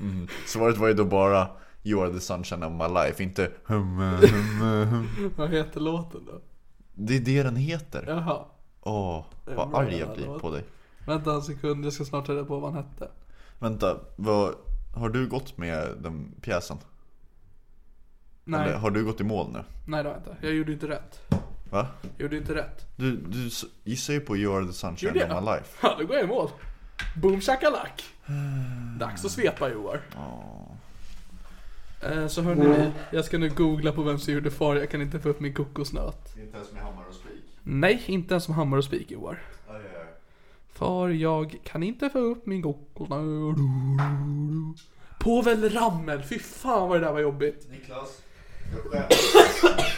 Speaker 3: Mm. Svaret var ju då bara You are the sunshine of my life, inte hum, hum, hum.
Speaker 2: Vad heter låten då?
Speaker 3: Det är det den heter.
Speaker 2: Jaha.
Speaker 3: Åh, vad
Speaker 2: bra
Speaker 3: arg jag
Speaker 2: jävla
Speaker 3: blir
Speaker 2: låt.
Speaker 3: på dig.
Speaker 2: Vänta en sekund, jag ska snart ta reda på vad han hette.
Speaker 3: Vänta, vad, har du gått med den pjäsen? Eller
Speaker 2: Nej,
Speaker 3: har du gått i mål nu?
Speaker 2: nej det har jag inte. Jag gjorde inte rätt.
Speaker 3: Va?
Speaker 2: Jag gjorde inte rätt.
Speaker 3: Du, du s- gissar ju på You are the sunshine
Speaker 2: Gjorde
Speaker 3: of
Speaker 2: jag?
Speaker 3: my life.
Speaker 2: Ja, då går jag i mål. Boom shakalak. Dags att svepa Joar. Eh, Så hörni ni, jag ska nu googla på vem som gjorde far, jag kan inte få upp min kokosnöt.
Speaker 3: Inte ens med hammare och spik.
Speaker 2: Nej, inte ens som hammare och spik Joar. Far, jag kan inte få upp min kokosnöt. Povel Ramel, fy fan vad det där var jobbigt.
Speaker 3: Niklas, jag skäms.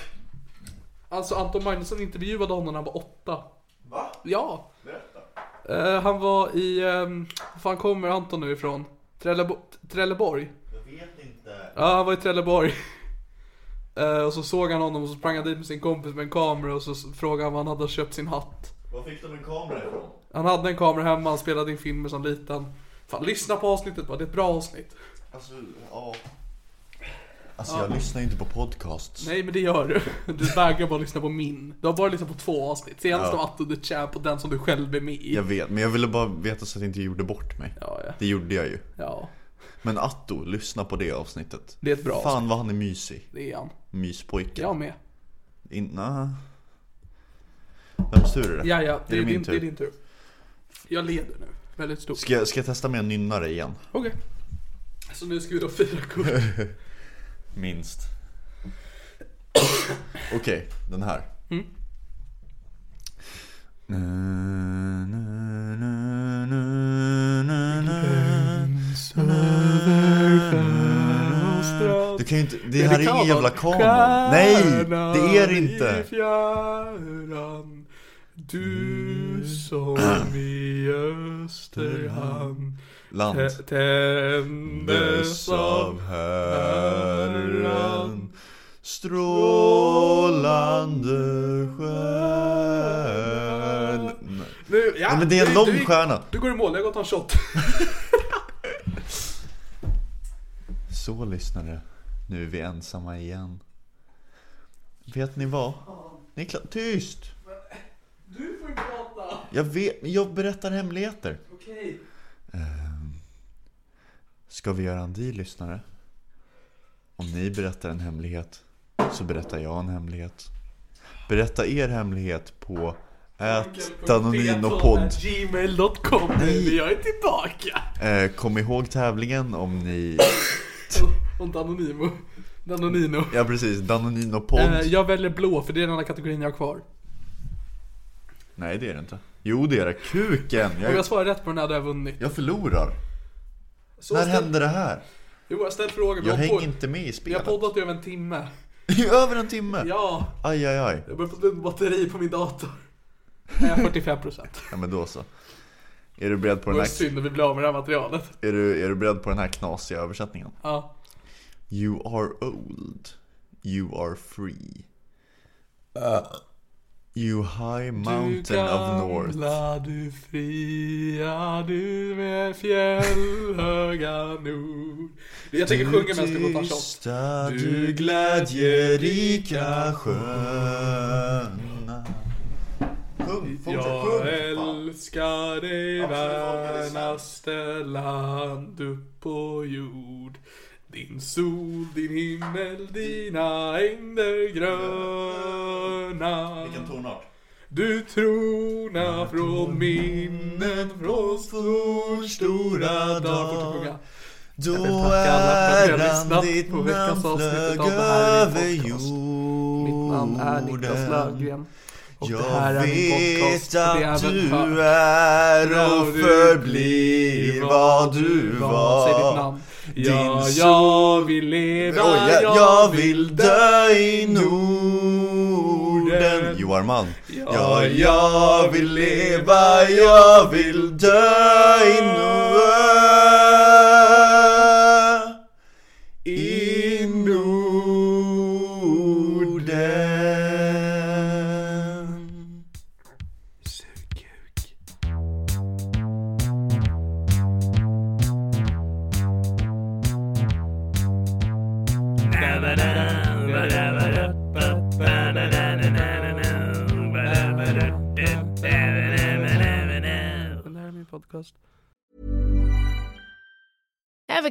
Speaker 2: Alltså Anton Magnusson intervjuade honom när han var åtta.
Speaker 3: Va?
Speaker 2: Ja,
Speaker 3: Berätta.
Speaker 2: eh, han var i, ehm, var fan kommer Anton nu ifrån? Trellebo- Trelleborg?
Speaker 3: Jag vet inte.
Speaker 2: Ja, han var i Trelleborg. Eh, och så såg han honom och så sprang han dit med sin kompis med en kamera och så s- frågade han var han hade köpt sin hatt.
Speaker 3: Var fick de en kamera ifrån?
Speaker 2: Han hade en kamera hemma, han spelade in filmer som liten. Fan, lyssna på avsnittet bara, det är ett bra avsnitt.
Speaker 3: Alltså, ja. Alltså jag lyssnar ju inte på podcasts.
Speaker 2: Nej, men det gör du. Du vägrar bara lyssna på min. Du har bara lyssnat på två avsnitt. Senast av Atto the Champ och den som du själv är med i.
Speaker 3: Jag vet, men jag ville bara veta så att jag inte gjorde bort mig.
Speaker 2: Ja, ja.
Speaker 3: Det gjorde jag ju.
Speaker 2: ja,
Speaker 3: Men Atto, lyssna på det avsnittet.
Speaker 2: Det är ett bra
Speaker 3: Fan vad han är mysig.
Speaker 2: det är han.
Speaker 3: Myspojke.
Speaker 2: Jag med.
Speaker 3: In, na. Vems tur är det?
Speaker 2: Ja, ja, det är,
Speaker 3: min
Speaker 2: din,
Speaker 3: tur?
Speaker 2: det är din tur. Jag leder nu. Väldigt stort.
Speaker 3: Ska, jag- ska jag testa med en nynnare igen?
Speaker 2: Okej. Så nu ska vi då fira kort.
Speaker 3: Minst. Okej, den här. Du kan ju inte, det här är ingen jävla kanon. Nej, det är det inte.
Speaker 2: Du som i Österhamn
Speaker 3: Land
Speaker 2: tä- tändes
Speaker 3: tändes
Speaker 2: av
Speaker 3: av Herren strålande stjärna
Speaker 2: Nu, ja,
Speaker 3: Ja, men det är en
Speaker 2: du-
Speaker 3: lång
Speaker 2: du-
Speaker 3: stjärna.
Speaker 2: Du går i mål, jag går och tar en shot.
Speaker 3: Så lyssnare, nu är vi ensamma igen. Vet ni vad? Niklas, tyst!
Speaker 2: Du får inte prata.
Speaker 3: Jag vet, jag berättar hemligheter. Ehm,
Speaker 2: Okej.
Speaker 3: Ska vi göra en deal lyssnare? Om ni berättar en hemlighet så berättar jag en hemlighet. Berätta er hemlighet på ätdaninopod.
Speaker 2: Gmail.com.
Speaker 3: Nej.
Speaker 2: Jag är tillbaka.
Speaker 3: Eh, kom ihåg tävlingen om ni...
Speaker 2: Och Danonimo. Danonino.
Speaker 3: Ja precis, Danoninopod.
Speaker 2: Eh, jag väljer blå för det är den enda kategorin jag har kvar.
Speaker 3: Nej det är det inte. Jo det är det, kuken!
Speaker 2: Om jag
Speaker 3: Jag,
Speaker 2: svarar rätt på den här hade jag vunnit.
Speaker 3: jag förlorar.
Speaker 2: Så
Speaker 3: När
Speaker 2: ställ-
Speaker 3: hände det här?
Speaker 2: Jo, jag har ställt frågor.
Speaker 3: Jag
Speaker 2: vi har
Speaker 3: hänger
Speaker 2: på-
Speaker 3: inte med i
Speaker 2: Vi har
Speaker 3: spelet.
Speaker 2: poddat i över en timme.
Speaker 3: I över en timme?
Speaker 2: Ja,
Speaker 3: Aj, aj, aj.
Speaker 2: jag börjar få slut på batteri på min dator. Nej, 45 procent.
Speaker 3: Ja, men då så. Är du, beredd på
Speaker 2: Det
Speaker 3: den
Speaker 2: var
Speaker 3: här,
Speaker 2: synd när vi blir av med det här materialet.
Speaker 3: är, du, är du beredd på den här knasiga översättningen?
Speaker 2: Ja.
Speaker 3: You are old. You are free. You high mountain of north.
Speaker 2: gamla, du fria, du med fjällhöga nord. Jag tänker sjunga medan jag ska gå och ta en shot.
Speaker 3: tysta, du glädjerika sköna. Sjung, fortsätt,
Speaker 2: Jag
Speaker 3: sjung! Fan.
Speaker 2: älskar dig
Speaker 3: Absolut,
Speaker 2: värnaste land upp på jord Din sol, din himmel, dina ängder gröna
Speaker 3: Vilken tonart?
Speaker 2: Du trona från minnen från stor, stora dagar Jag vill
Speaker 3: Då
Speaker 2: tacka alla för att ni har
Speaker 3: äran
Speaker 2: lyssnat
Speaker 3: ditt
Speaker 2: på veckans
Speaker 3: namn
Speaker 2: avsnitt
Speaker 3: flög
Speaker 2: av Det här är en
Speaker 3: över
Speaker 2: podcast.
Speaker 3: jorden
Speaker 2: Mitt namn är Niklas Löfgren och det här
Speaker 3: Jag
Speaker 2: är min
Speaker 3: vet
Speaker 2: podcast och det är
Speaker 3: att
Speaker 2: även
Speaker 3: du
Speaker 2: för-
Speaker 3: är och
Speaker 2: Ja, du
Speaker 3: förblir vad du var
Speaker 2: Säg ditt namn. Ja,
Speaker 3: Din
Speaker 2: jag vill leva,
Speaker 3: Oj, jag, jag vill dö i Norden Joar Malm Ja, jag vill leva, jag vill dö i Norden I Norden
Speaker 2: Sug kuk. Det här är min podcast.
Speaker 4: Ever